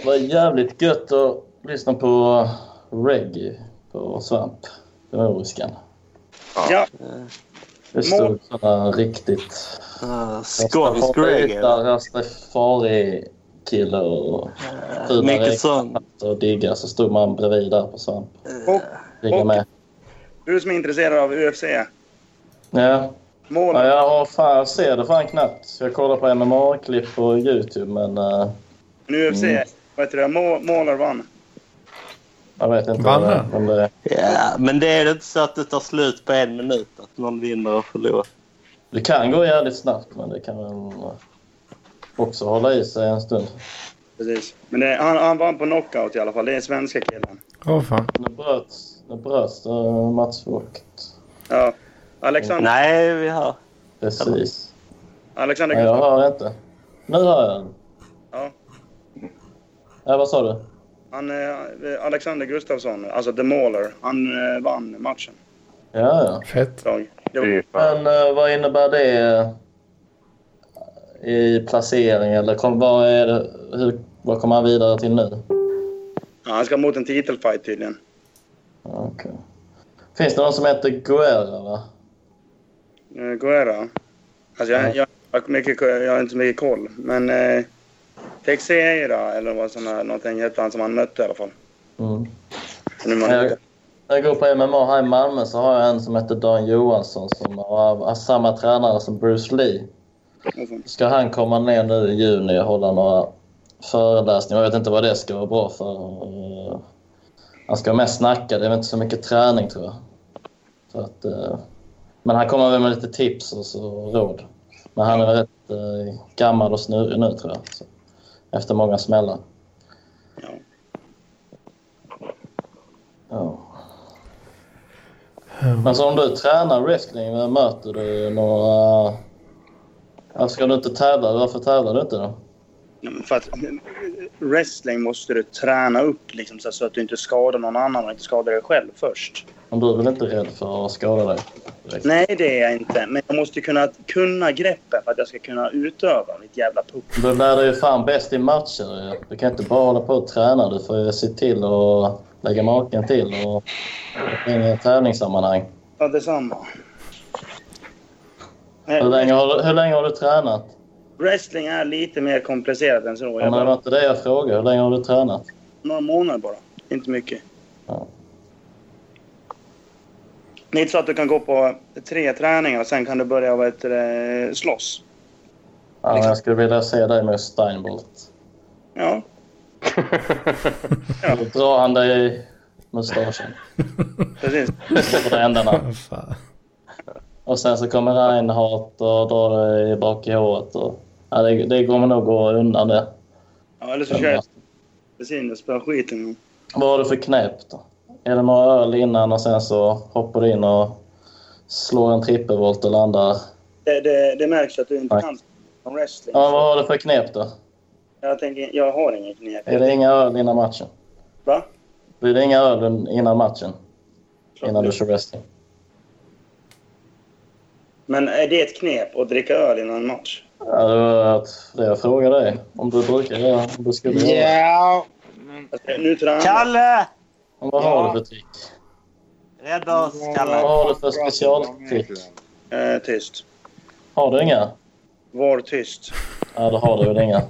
Speaker 9: Det var jävligt gött att lyssna på reggae på svamp. Den oriskan.
Speaker 5: Ja,
Speaker 9: Det stod sådana riktigt...
Speaker 6: Uh, Skånsk reggae.
Speaker 9: Rastafari-killar och fula
Speaker 6: Mycket sån.
Speaker 9: reggae och digga så stod man bredvid där på svamp.
Speaker 5: och
Speaker 9: Digga
Speaker 5: Och-
Speaker 9: med.
Speaker 5: du som är intresserad av UFC.
Speaker 9: Ja. Ja,
Speaker 5: Målet.
Speaker 9: jag har fan, jag ser det fan knappt. Så jag kollar på MMA-klipp på Youtube men eh,
Speaker 5: Men UFC, vad heter det? Må- Målar vann.
Speaker 9: jag vet inte
Speaker 2: Vann
Speaker 9: vad det, är,
Speaker 2: han?
Speaker 9: men det är.
Speaker 6: Ja, men det är inte så att det tar slut på en minut, att någon vinner och förlorar.
Speaker 9: Det kan gå jävligt snabbt men det kan väl eh, också hålla i sig en stund.
Speaker 5: Precis. Men det, han, han vann på knockout i alla fall. Det är svenska killen.
Speaker 2: Åh fan.
Speaker 9: Nu bröts, nu bröts eh, Mats Vogt.
Speaker 5: Ja. Alexander,
Speaker 6: Mm. Nej, vi har...
Speaker 9: Precis.
Speaker 5: Alexander
Speaker 9: Nej, jag hör inte. Nu hör jag den.
Speaker 5: Ja.
Speaker 9: Ja, vad sa du?
Speaker 5: Han, eh, Alexander Gustafsson, alltså The Mauler, han eh, vann matchen.
Speaker 9: Ja, ja.
Speaker 2: Fett.
Speaker 5: Dag. Det var,
Speaker 3: Fy fan.
Speaker 9: Men eh, vad innebär det eh, i placering? Eller kom, vad, är det, hur, vad kommer han vidare till nu?
Speaker 5: ja, han ska mot en titelfight tydligen.
Speaker 9: Ja, okej. Finns det någon som heter Guerra? Va?
Speaker 5: Eh, Guerra. Alltså jag, jag, jag, har mycket, jag har inte så mycket koll. Men eh, Teixeira eller vad sån här, någonting hette han som han mötte i alla fall.
Speaker 9: Mm.
Speaker 5: Så Nu är man
Speaker 9: Jag, jag går på MMA här i Malmö så har jag en som heter Dan Johansson som har, har samma tränare som Bruce Lee. Ska han komma ner nu i juni och hålla några föreläsningar? Jag vet inte vad det ska vara bra för. Eh, Han ska mest snacka, det är väl inte så mycket träning tror jag. Så att, eh, men han kommer väl med lite tips och så råd. Men han är väl rätt eh, gammal och snurrig nu tror jag. Så, efter många smällar.
Speaker 5: Ja.
Speaker 9: Ja. Men så om du tränar wrestling, möter du några... Ja, ska du inte tävla? Varför tävlar du inte då?
Speaker 5: Ja, men För att wrestling måste du träna upp liksom, så så att du inte skadar någon annan och inte skadar dig själv först.
Speaker 9: Men du är väl inte rädd för att skada dig? direkt?
Speaker 5: Nej, det är jag inte. Men jag måste ju kunna, kunna greppen för att jag ska kunna utöva mitt jävla puck.
Speaker 9: Du lär dig ju fan bäst i matcher. ju. Du kan inte bara hålla på och träna. Du får ju se till att lägga maken till och in i ett tävlingssammanhang.
Speaker 5: Ja, detsamma.
Speaker 9: Hur
Speaker 5: Men
Speaker 9: länge har du, hur länge har du tränat?
Speaker 5: Wrestling är lite mer komplicerat än så.
Speaker 9: Ja,
Speaker 5: Jag
Speaker 9: men det
Speaker 5: bara,
Speaker 9: var inte det jag frågade. Hur länge har du tränat?
Speaker 5: några månader bara. Inte mycket.
Speaker 9: Ja.
Speaker 5: Det är inte så att du kan gå på tre träningar och sen kan du börja vad heter det, slåss.
Speaker 9: Ja,
Speaker 5: Liksom.
Speaker 9: men jag skulle vilja se dig med Steinbolt.
Speaker 5: Ja,
Speaker 9: Då drar han dig i mustaschen.
Speaker 5: precis.
Speaker 9: På ändarna.
Speaker 2: Åh, fan.
Speaker 9: Och sen så kommer Reinhardt och drar dig bak i håret. Och, ja, det, det kommer nog gå undan det.
Speaker 5: Ja, eller så kör jag bensin och spöar skiten ur
Speaker 9: Vad har du för knep då? Är det några öl innan och sen så hoppar du in och slår en trippelvolt och landar?
Speaker 5: Det, det, det märks att du inte
Speaker 9: Nej.
Speaker 5: kan om wrestling.
Speaker 9: Ja, vad har du för knep då?
Speaker 5: Jag tänker, jag har ingen knep.
Speaker 9: Är det inga öl innan matchen?
Speaker 5: Va?
Speaker 9: Blir det inga öl innan matchen? Innan du kör wrestling?
Speaker 5: Men är det ett knep att dricka öl innan en match?
Speaker 9: Ja, det var att- det jag frågade dig. Om du brukar göra, om du skulle göra. det.
Speaker 8: Ja, men
Speaker 5: Alltså, nu tränar jag.
Speaker 6: Kalle!
Speaker 9: Vad har du för trick?
Speaker 6: Rädda oss,
Speaker 9: Vad
Speaker 6: Kalle.
Speaker 9: har du för specialtrick?
Speaker 5: Eh, tyst.
Speaker 9: Har du inga?
Speaker 5: Var tyst.
Speaker 9: Ja, det har du väl inga.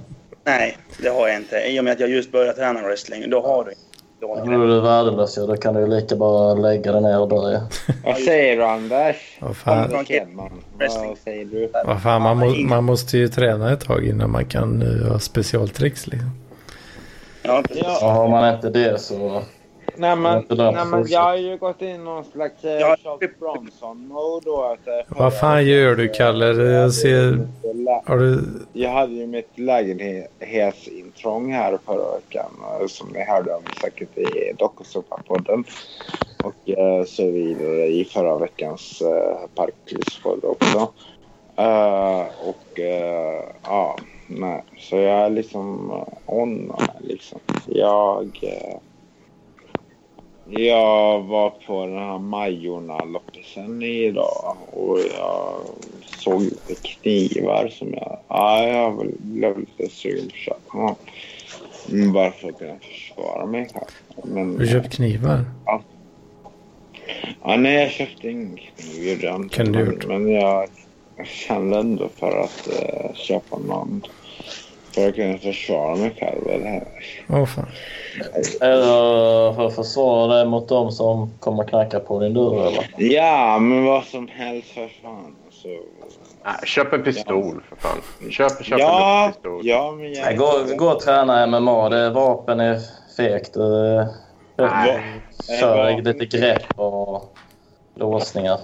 Speaker 5: Nej, det har jag inte. I och med att jag just börjat träna wrestling, då har du inte. Då har
Speaker 9: Då
Speaker 5: du
Speaker 9: är du värdelös ju. Då kan du ju lika bara lägga dig ner och dö ju.
Speaker 4: Vad säger du Anders?
Speaker 2: Vad fan,
Speaker 5: Från
Speaker 4: Kenman, vad säger du?
Speaker 2: vad fan man, må, man måste ju träna ett tag innan man kan eh, ha specialtricks liksom.
Speaker 5: Ja, precis.
Speaker 9: Och har man inte det så...
Speaker 4: Nej
Speaker 9: Jag är
Speaker 4: men,
Speaker 9: inte där
Speaker 4: nej,
Speaker 9: för
Speaker 4: men
Speaker 9: att
Speaker 4: jag har ju gått in i någon slags eh,
Speaker 5: Ja.
Speaker 4: Charles Bronson-mode då. Att, eh,
Speaker 2: Vad fan gör du Kalle? Jag ser... Har du...
Speaker 4: Jag hade ju mitt lägenhetsintrång här förra veckan eh, som ni hörde om säkert i Dokusåpa-podden och eh, så vidare i förra veckans eh, Parklyspodd också. Eh, och eh, ja, nej. Så jag är liksom eh, on liksom. Jag... eh, jag var på den här Majorna-loppisen idag och jag såg lite knivar som jag... Ja, jag blev lite sugen på att köpa någon. Mm, Bara för att kunna försvara mig. kanske. Men,
Speaker 2: Du köpt knivar?
Speaker 4: ja, nej, jag köpte ingen kniv. gjorde jag inte.
Speaker 2: Kunde du
Speaker 4: Men-
Speaker 2: gjort.
Speaker 4: Men jag kände ändå för att eh, köpa någon. För att kunna försvara mig själv. i Det här.
Speaker 2: Åh fan.
Speaker 9: Eller för att försvara dig mot dem som kommer knacka på din dörr eller?
Speaker 4: Ja, men vad som helst för fan. Alltså,
Speaker 3: Nej, köp en pistol för fan. Köp, köp en
Speaker 4: Ja,
Speaker 3: pistol.
Speaker 4: ja, men jag...
Speaker 9: Nej, gå, gå och träna MMA. Det, vapen är fegt. Det-
Speaker 4: Nej.
Speaker 9: Kör lite grepp och låsningar.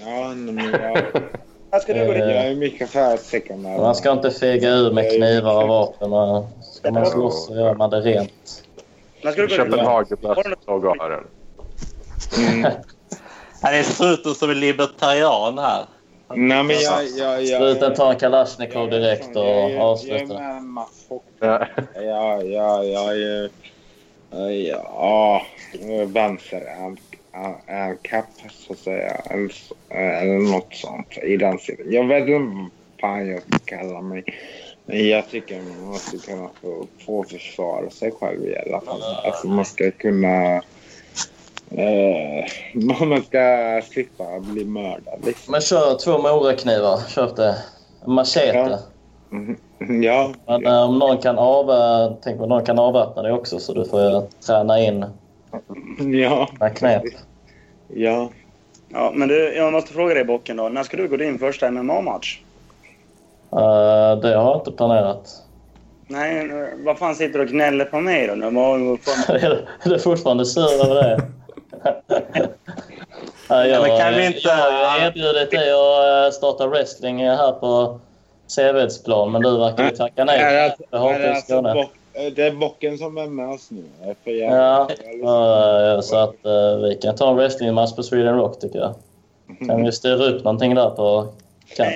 Speaker 4: Ja, nej, men jag...
Speaker 5: Här ska du gå dit.
Speaker 4: jag är mycket för säker med
Speaker 9: Man ska inte fega ur med knivar och vapen. Man, ska man slåss så gör man det rent.
Speaker 5: Här ska du gå
Speaker 3: Köp en
Speaker 5: dit.
Speaker 3: hagelbössa och ha den.
Speaker 4: Mm.
Speaker 6: Ja, det är struten som är libertarian här.
Speaker 4: Nej, men jag... jag, jag
Speaker 9: Struten tar en kalasjnikov
Speaker 4: jag-
Speaker 9: direkt
Speaker 4: jag- jag-
Speaker 9: och
Speaker 4: Jag är
Speaker 9: avslutar.
Speaker 4: med Mats Fock.
Speaker 3: Ja.
Speaker 4: Ja, ja, jag är ju... Ja, Ah, vänsterhandikapp så att säga. Eller, så- eller något sånt i den sidan. Jag vet inte vad fan jag ska kalla mig. Men jag tycker man måste kunna få, få försvara sig själv i alla fall. Alltså man ska kunna... Eh, man ska slippa bli mördad liksom.
Speaker 9: Men kör två moraknivar. Köp det. En
Speaker 4: Ja.
Speaker 9: Machete.
Speaker 4: liksom. Ja.
Speaker 9: Men eh, om någon kan, avvä- tänk om någon kan avväpna dig också så du får eh, träna in
Speaker 4: Ja.
Speaker 9: några knep.
Speaker 4: Ja.
Speaker 5: Ja, men du, jag måste fråga dig Bocken då. När ska du gå din första MMA-match?
Speaker 9: Eh, det har jag inte planerat.
Speaker 5: Nej, vad fan sitter du och gnäller på mig då? Nu? Vad- vad fan-
Speaker 9: Är du fortfarande sur över det? Nej,
Speaker 6: Ja,
Speaker 9: jag,
Speaker 6: men kan vi inte-
Speaker 9: jag har ju erbjudit dig att eh, starta wrestling här på Sevedsplan, men du verkar ju tacka nej.
Speaker 4: Är det alltså-
Speaker 9: Jag har
Speaker 4: är det
Speaker 9: inte
Speaker 4: alltså
Speaker 9: Skåne.
Speaker 4: bock- det är bocken som är med oss nu. För jag, liksom-
Speaker 9: Ja,
Speaker 4: jag,
Speaker 9: eh, så att eh, vi kan ta en wrestlingmatch på Sweden Rock tycker jag. Kan vi styra upp någonting där på kan.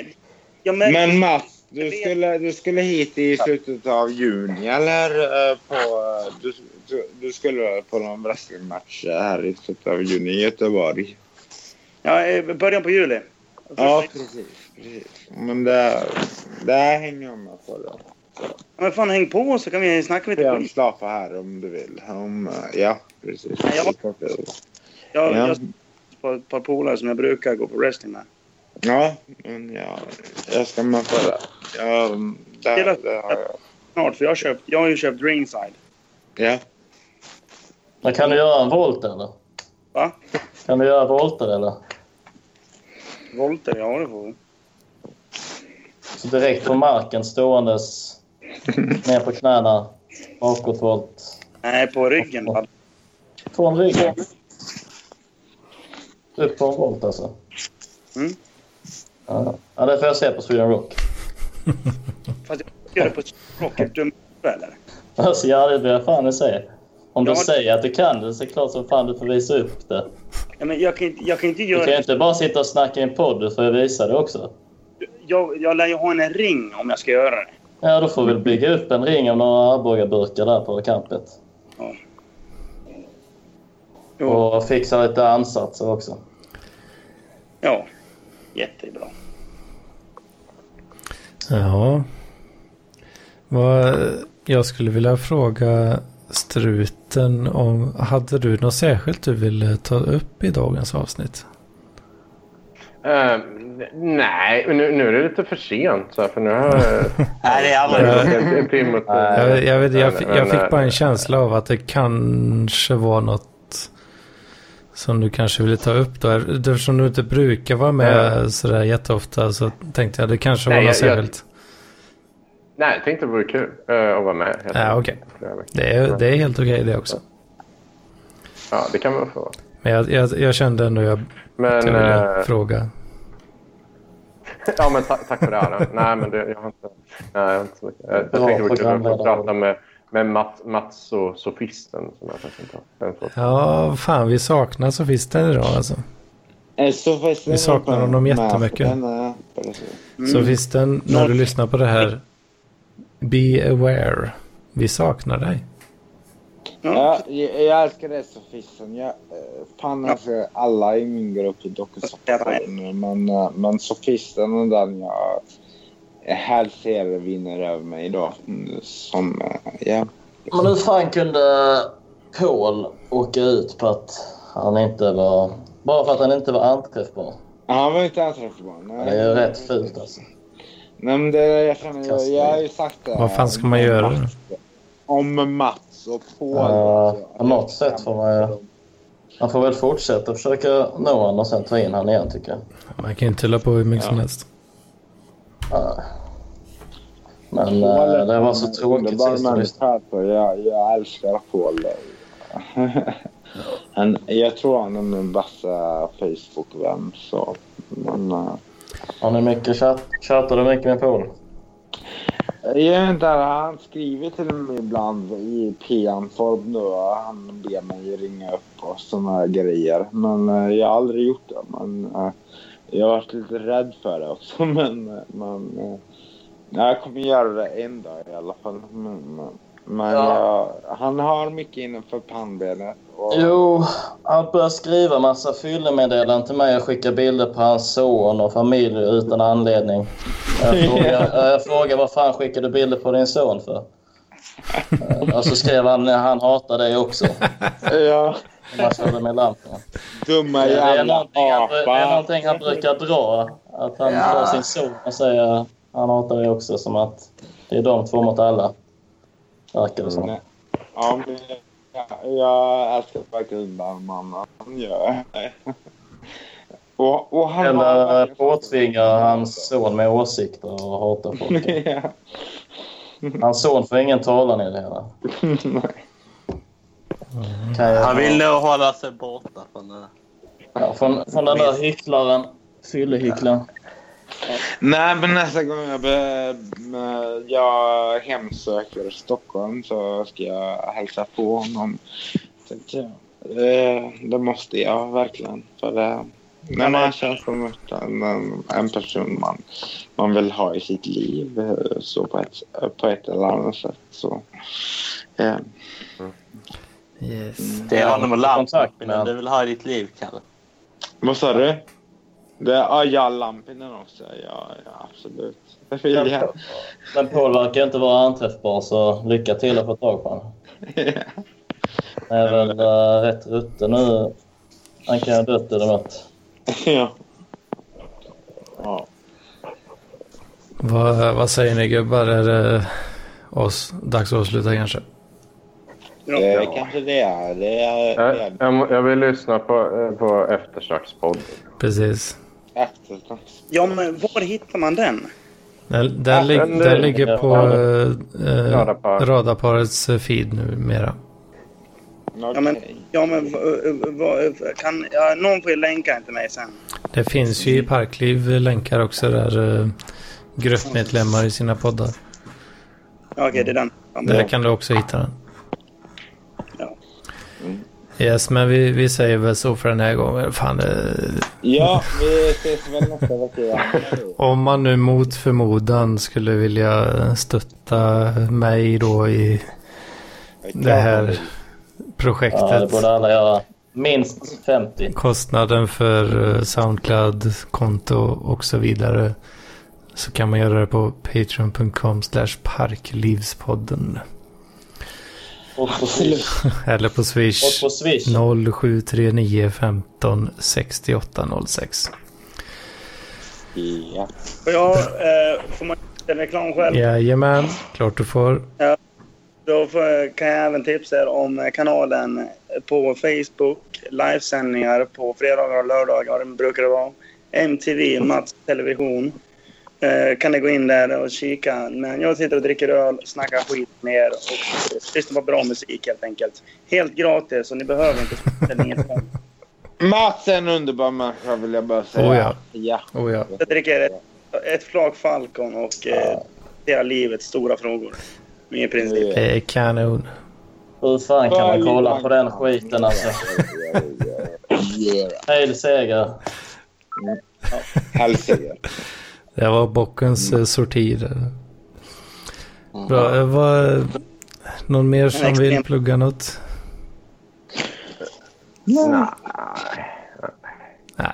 Speaker 5: Ja, men,
Speaker 4: men Mats, du skulle, du skulle hit i slutet av juni eller? eh, På, eh, du, du, du skulle på någon wrestlingmatch eh, här i slutet av juni i Göteborg.
Speaker 5: ja, eh, början på juli. Alltså,
Speaker 4: Ja, precis. precis. Men det, det här hänger jag med på. Då.
Speaker 5: Men fan, häng på så kan vi snacka
Speaker 4: Du
Speaker 5: lite
Speaker 4: kan
Speaker 5: skit.
Speaker 4: slappa här om du vill. Om, eh, ja, precis.
Speaker 5: Ja. Jag, jag
Speaker 4: Ja.
Speaker 5: har ett par polare som jag brukar gå på wrestling med.
Speaker 4: Ja, men jag, jag ska med på det. Jag,
Speaker 5: Hela-
Speaker 4: det, det har jag.
Speaker 5: Snart, för jag har, köpt, jag har ju köpt ringside.
Speaker 4: Ja.
Speaker 9: Men kan du göra en volt eller?
Speaker 5: Va?
Speaker 9: Kan du göra volter eller?
Speaker 5: Volter, ja det får vi.
Speaker 9: Så direkt på marken ståendes ner på knäna, bakåtvolt.
Speaker 5: Nej, på ryggen. va?
Speaker 9: Från ryggen. Upp på en volt alltså.
Speaker 5: Mm.
Speaker 9: Ja. ja, det får jag se på Sweden Rock.
Speaker 5: Fast jag gör det på språket. Du är med, eller?
Speaker 9: Alltså, ja, det vill jag fan se. Om du
Speaker 5: Ja.
Speaker 9: säger att du kan det så är det klart som fan du får visa upp det.
Speaker 5: Ja, men jag, kan, inte- jag kan inte
Speaker 9: Du
Speaker 5: göra
Speaker 9: kan ju
Speaker 5: det.
Speaker 9: inte bara sitta och snacka i en podd, du får ju visa det också.
Speaker 5: Jag, jag lär ju ha en ring om jag ska göra det.
Speaker 9: Ja, då får vi väl bygga upp en ring av några Arbogaburkar där på campet.
Speaker 5: Ja. Jo.
Speaker 9: Och fixa lite ansatser också.
Speaker 5: Ja, jättebra.
Speaker 2: Ja. Vad, jag skulle vilja fråga struten om, hade du något särskilt du ville ta upp i dagens avsnitt?
Speaker 3: Eh, Nej, men nu, nu är det lite för sent. Så här, för nu har jag
Speaker 6: Nej, det är aldrig
Speaker 2: Ja.
Speaker 3: en, en timme till.
Speaker 2: Jag, jag, vet, jag, fi-
Speaker 3: Men,
Speaker 2: jag
Speaker 3: eh,
Speaker 2: fick bara en känsla av att det kanske var något som du kanske ville ta upp då. Eftersom du inte brukar vara med sådär jätteofta så tänkte jag det kanske var
Speaker 3: Nej,
Speaker 2: något
Speaker 3: jag- jag-
Speaker 2: särskilt.
Speaker 3: Nej, jag tänkte det vore kul eh, att vara med. helt
Speaker 2: Ja,
Speaker 3: enkelt.
Speaker 2: okej. Det är, det är helt okej det också.
Speaker 3: Ja, det kan man få. vara. Men,
Speaker 2: Men jag, jag, jag kände ändå jag, att jag ville
Speaker 3: eh,
Speaker 2: fråga.
Speaker 3: Ja, men ta, tack för det, Anna. Nej, men det, jag har inte, nej, jag har inte så mycket. Jag, jag
Speaker 9: Bra
Speaker 3: tänkte att vi skulle
Speaker 9: programledare.
Speaker 3: få prata med, med Mats, Mats och sofisten. Som jag faktiskt inte har. Den får-
Speaker 2: Ja, fan vi saknar sofisten idag alltså.
Speaker 4: Eh, Så faktiskt-
Speaker 2: Vi saknar honom jättemycket.
Speaker 4: Men, eh, på det sättet.
Speaker 3: Mm.
Speaker 2: Sofisten, när du lyssnar på det här, be aware. Vi saknar dig.
Speaker 4: Ja, jag, jag älskar det Sofisen. Jag, eh, fan alltså, alla i min grupp är dokusåpor. Men, eh, men Sofisen är den jag helst ser vinner över mig idag. Mm, Som, eh, ja.
Speaker 9: Men hur fan kunde Paul åka ut på att han inte var... Bara för att han inte var anträffbar.
Speaker 4: Han var inte anträffbar. nej.
Speaker 9: Det är ju rätt fult alltså.
Speaker 4: Nej, men det är det jag känner. Jag, jag har ju sagt det.
Speaker 2: Vad fan ska man göra då?
Speaker 4: Om Mats och Paul.
Speaker 9: Ja,
Speaker 4: alltså.
Speaker 9: på något sätt får man ju- Man får väl fortsätta försöka nå honom och sen ta in honom igen tycker jag.
Speaker 2: Man kan ju inte hålla på hur mycket som helst.
Speaker 9: Ja. Men eh, det var så tråkigt
Speaker 4: Underbar
Speaker 9: sist jag lyssnade.
Speaker 4: människa. alltså. Jag, jag älskar Paul. han, jag tror han är min bästa Facebook-vän. Så. Men, eh,
Speaker 9: Har ni mycket chatt? Chattar du mycket med Paul?
Speaker 4: jag vet inte, han skriver till mig ibland i PM-form. då. Han ber mig ringa upp och såna här grejer. Men eh, jag har aldrig gjort det. Men, eh, jag har varit lite rädd för det också. Men, eh, men, eh, jag kommer göra det en dag i alla fall. Men, men, men jag, han har mycket innanför pannbenet. Och,
Speaker 9: Jo, han började skriva massa fyllemeddelanden till mig och skicka bilder på hans son och familj utan anledning. Jag frågade, jag frågade vad fan skickar du bilder på din son för? Eh, Och så skrev han han hatar dig också.
Speaker 4: ja,
Speaker 9: Man körde med lampan.
Speaker 4: dumma
Speaker 9: Det är,
Speaker 4: jävla
Speaker 9: någonting han, bru- det är
Speaker 4: apa.
Speaker 9: någonting han brukar dra. Att han tar sin son och säger han hatar dig också. Som att det är de två mot alla. Verkar det som.
Speaker 4: Nej. Ja, men, jag, jag älskar verkligen undan mannen. Han gör och, och han
Speaker 9: Eller
Speaker 4: har-
Speaker 9: påtvingar hans son med åsikter och hatar folk.
Speaker 4: Ja.
Speaker 9: Hans son får ingen talan i det hela. Kan jag,
Speaker 6: Han vill nog hålla sig borta från det.
Speaker 9: ja, från, från den där hycklaren. Fyllehycklaren.
Speaker 4: Nej, men nästa gång jag, be, med- jag hemsöker Stockholm så ska jag hälsa på honom. Tänkte jag. Eh, Det måste jag verkligen. För eh, det, när man känns som att en, en person man, man vill ha i sitt liv eh, så på, ett, på ett eller annat sätt. Så. eh,
Speaker 2: Yes.
Speaker 6: Det är honom och
Speaker 9: Kontakt med
Speaker 6: Lampinen
Speaker 9: han.
Speaker 6: du vill ha i ditt liv, Kalle.
Speaker 4: Vad sa du? Det, ah, ja, Lampinen också. Ja, ja absolut. Det vill jag.
Speaker 9: Men Paul verkar inte vara anträffbar så lycka till att få tag på honom. Han är väl eh, rätt rutten nu. Han kan ju ha dött eller något.
Speaker 4: ja. Ja.
Speaker 2: Vad, vad säger ni gubbar? Är det oss, dags att avsluta kanske?
Speaker 4: Det
Speaker 5: Ja.
Speaker 4: är kanske det är. Det är, det
Speaker 3: Eh, Jag,
Speaker 4: är
Speaker 3: jag, må- jag vill lyssna på, eh, på eftersnackspodd.
Speaker 2: Precis.
Speaker 4: eftersnack.
Speaker 5: ja, men var hittar man den?
Speaker 2: Den, den, lig,
Speaker 3: den-
Speaker 2: den ligger på eh,
Speaker 3: Radarpar.
Speaker 2: radarparets feed numera.
Speaker 5: Ja, men,
Speaker 4: Okej.
Speaker 5: ja, men v- v- kan, ja, någon får ju länka den till mig sen.
Speaker 2: Det finns ju i Parkliv länkar också där eh, gruppmedlemmar i sina poddar.
Speaker 5: Ja, Okej, det är den. Ja,
Speaker 2: Där kan du också hitta den.
Speaker 5: Ja. Mm.
Speaker 2: Yes, men vi, vi säger väl så för den här gången. Fan, eh,
Speaker 4: Ja, vi ses väl nästa vecka igen.
Speaker 2: Om man nu mot förmodan skulle vilja stötta mig då i det här
Speaker 9: Ja, det
Speaker 2: projektet.
Speaker 9: borde alla göra. Minst 50.
Speaker 2: Kostnaden för eh, Soundcloud-konto och så vidare. Så kan man göra det på patreon.com slash parklivspodden.
Speaker 9: Och på Swish.
Speaker 2: Eller på
Speaker 9: Och
Speaker 2: swish
Speaker 9: på Swish.
Speaker 2: 0739 15 68 06.
Speaker 10: Ja.
Speaker 5: Får, jag, eh, får man göra reklam själv?
Speaker 2: Jajamän, klart du får.
Speaker 5: Då får, kan jag även tipsa er om eh, kanalen på Facebook. Livesändningar på fredagar och lördagar brukar det vara. MTV, Mats Television. Eh, kan ni gå in där och kika. Men jag sitter och dricker öl, snackar skit med er och lyssnar på bra musik helt enkelt. Helt gratis och ni behöver inte spela inget pengar.
Speaker 4: Mats är en underbar människa vill jag bara säga.
Speaker 2: Oh ja.
Speaker 4: ja.
Speaker 2: Oh, ja.
Speaker 5: Jag dricker ett, ett flak Falcon och eh, hela livets stora frågor. I princip.
Speaker 2: Det är kanon.
Speaker 9: Hur fan kan man kolla på den skiten alltså? Hel seger.
Speaker 4: Hälsningar.
Speaker 2: Det var bockens
Speaker 5: Mm.
Speaker 2: eh, sorti. där. Bra, eh, vad, någon mer som vill
Speaker 5: extrem-
Speaker 2: plugga något? Nej.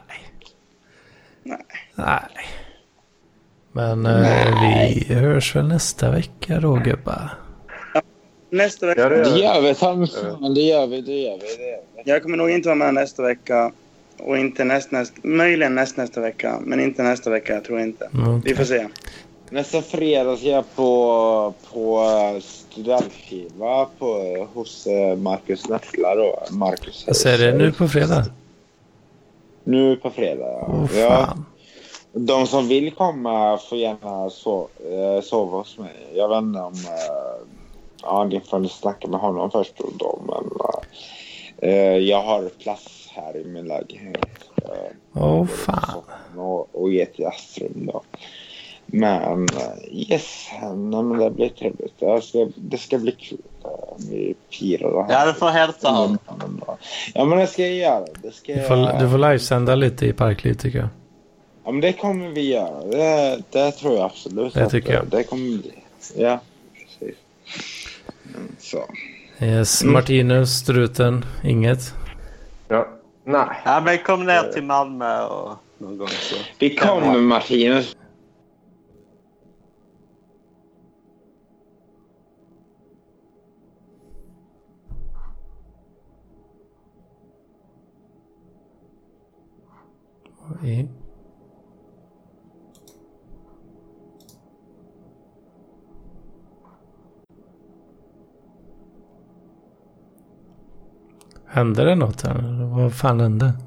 Speaker 5: Nej.
Speaker 2: Nej. Men eh, vi hörs väl nästa vecka då gubbar?
Speaker 5: Nästa vecka.
Speaker 3: Ja, det
Speaker 4: Det
Speaker 3: är
Speaker 4: gör vi, ta mig fan. Det gör vi, det gör vi. Det gör vi.
Speaker 5: Jag kommer nog inte vara med nästa vecka. Och inte näst, näst, möjligen näst nästa vecka, men inte nästa vecka. Jag tror inte.
Speaker 2: Mm.
Speaker 5: Vi får se.
Speaker 4: Nästa fredag ska jag på, på eh, studentskiva på, hos eh, Marcus Nessla då. Marcus
Speaker 2: Alltså är det nu på fredag?
Speaker 4: Nu på fredag, ja.
Speaker 2: Åh
Speaker 4: ja.
Speaker 2: fan.
Speaker 4: De som vill komma får gärna so- eh, sova hos mig. Jag vet inte om... eh, Ja, ni får snacka med honom först och då, men... eh, jag har plats här i min lägenhet. eh,
Speaker 2: Åh fan.
Speaker 4: och, och ge till Astrum då. Men eh, yes, nej, men det blir trevligt. Det ska, det ska bli kul. eh, Vi firar det
Speaker 6: Ja,
Speaker 4: här.
Speaker 6: du får hälsa honom.
Speaker 4: Ja, men det ska jag göra. Det ska
Speaker 2: Du
Speaker 4: jag...
Speaker 2: får, du får livesända lite i Parkliv tycker jag.
Speaker 4: Ja, men det kommer vi göra. Det, det tror jag absolut.
Speaker 2: Det
Speaker 4: att
Speaker 2: tycker jag.
Speaker 4: Det kommer bli. Ja, precis. Mm, Så.
Speaker 2: Yes,
Speaker 5: Mm.
Speaker 2: Martinus, struten, inget.
Speaker 3: Ja. Nej.
Speaker 6: Ja, men kom ner till Malmö och någon gång så.
Speaker 4: Vi kommer, Martinus.
Speaker 2: I- Hände det något här? Vad fan hände?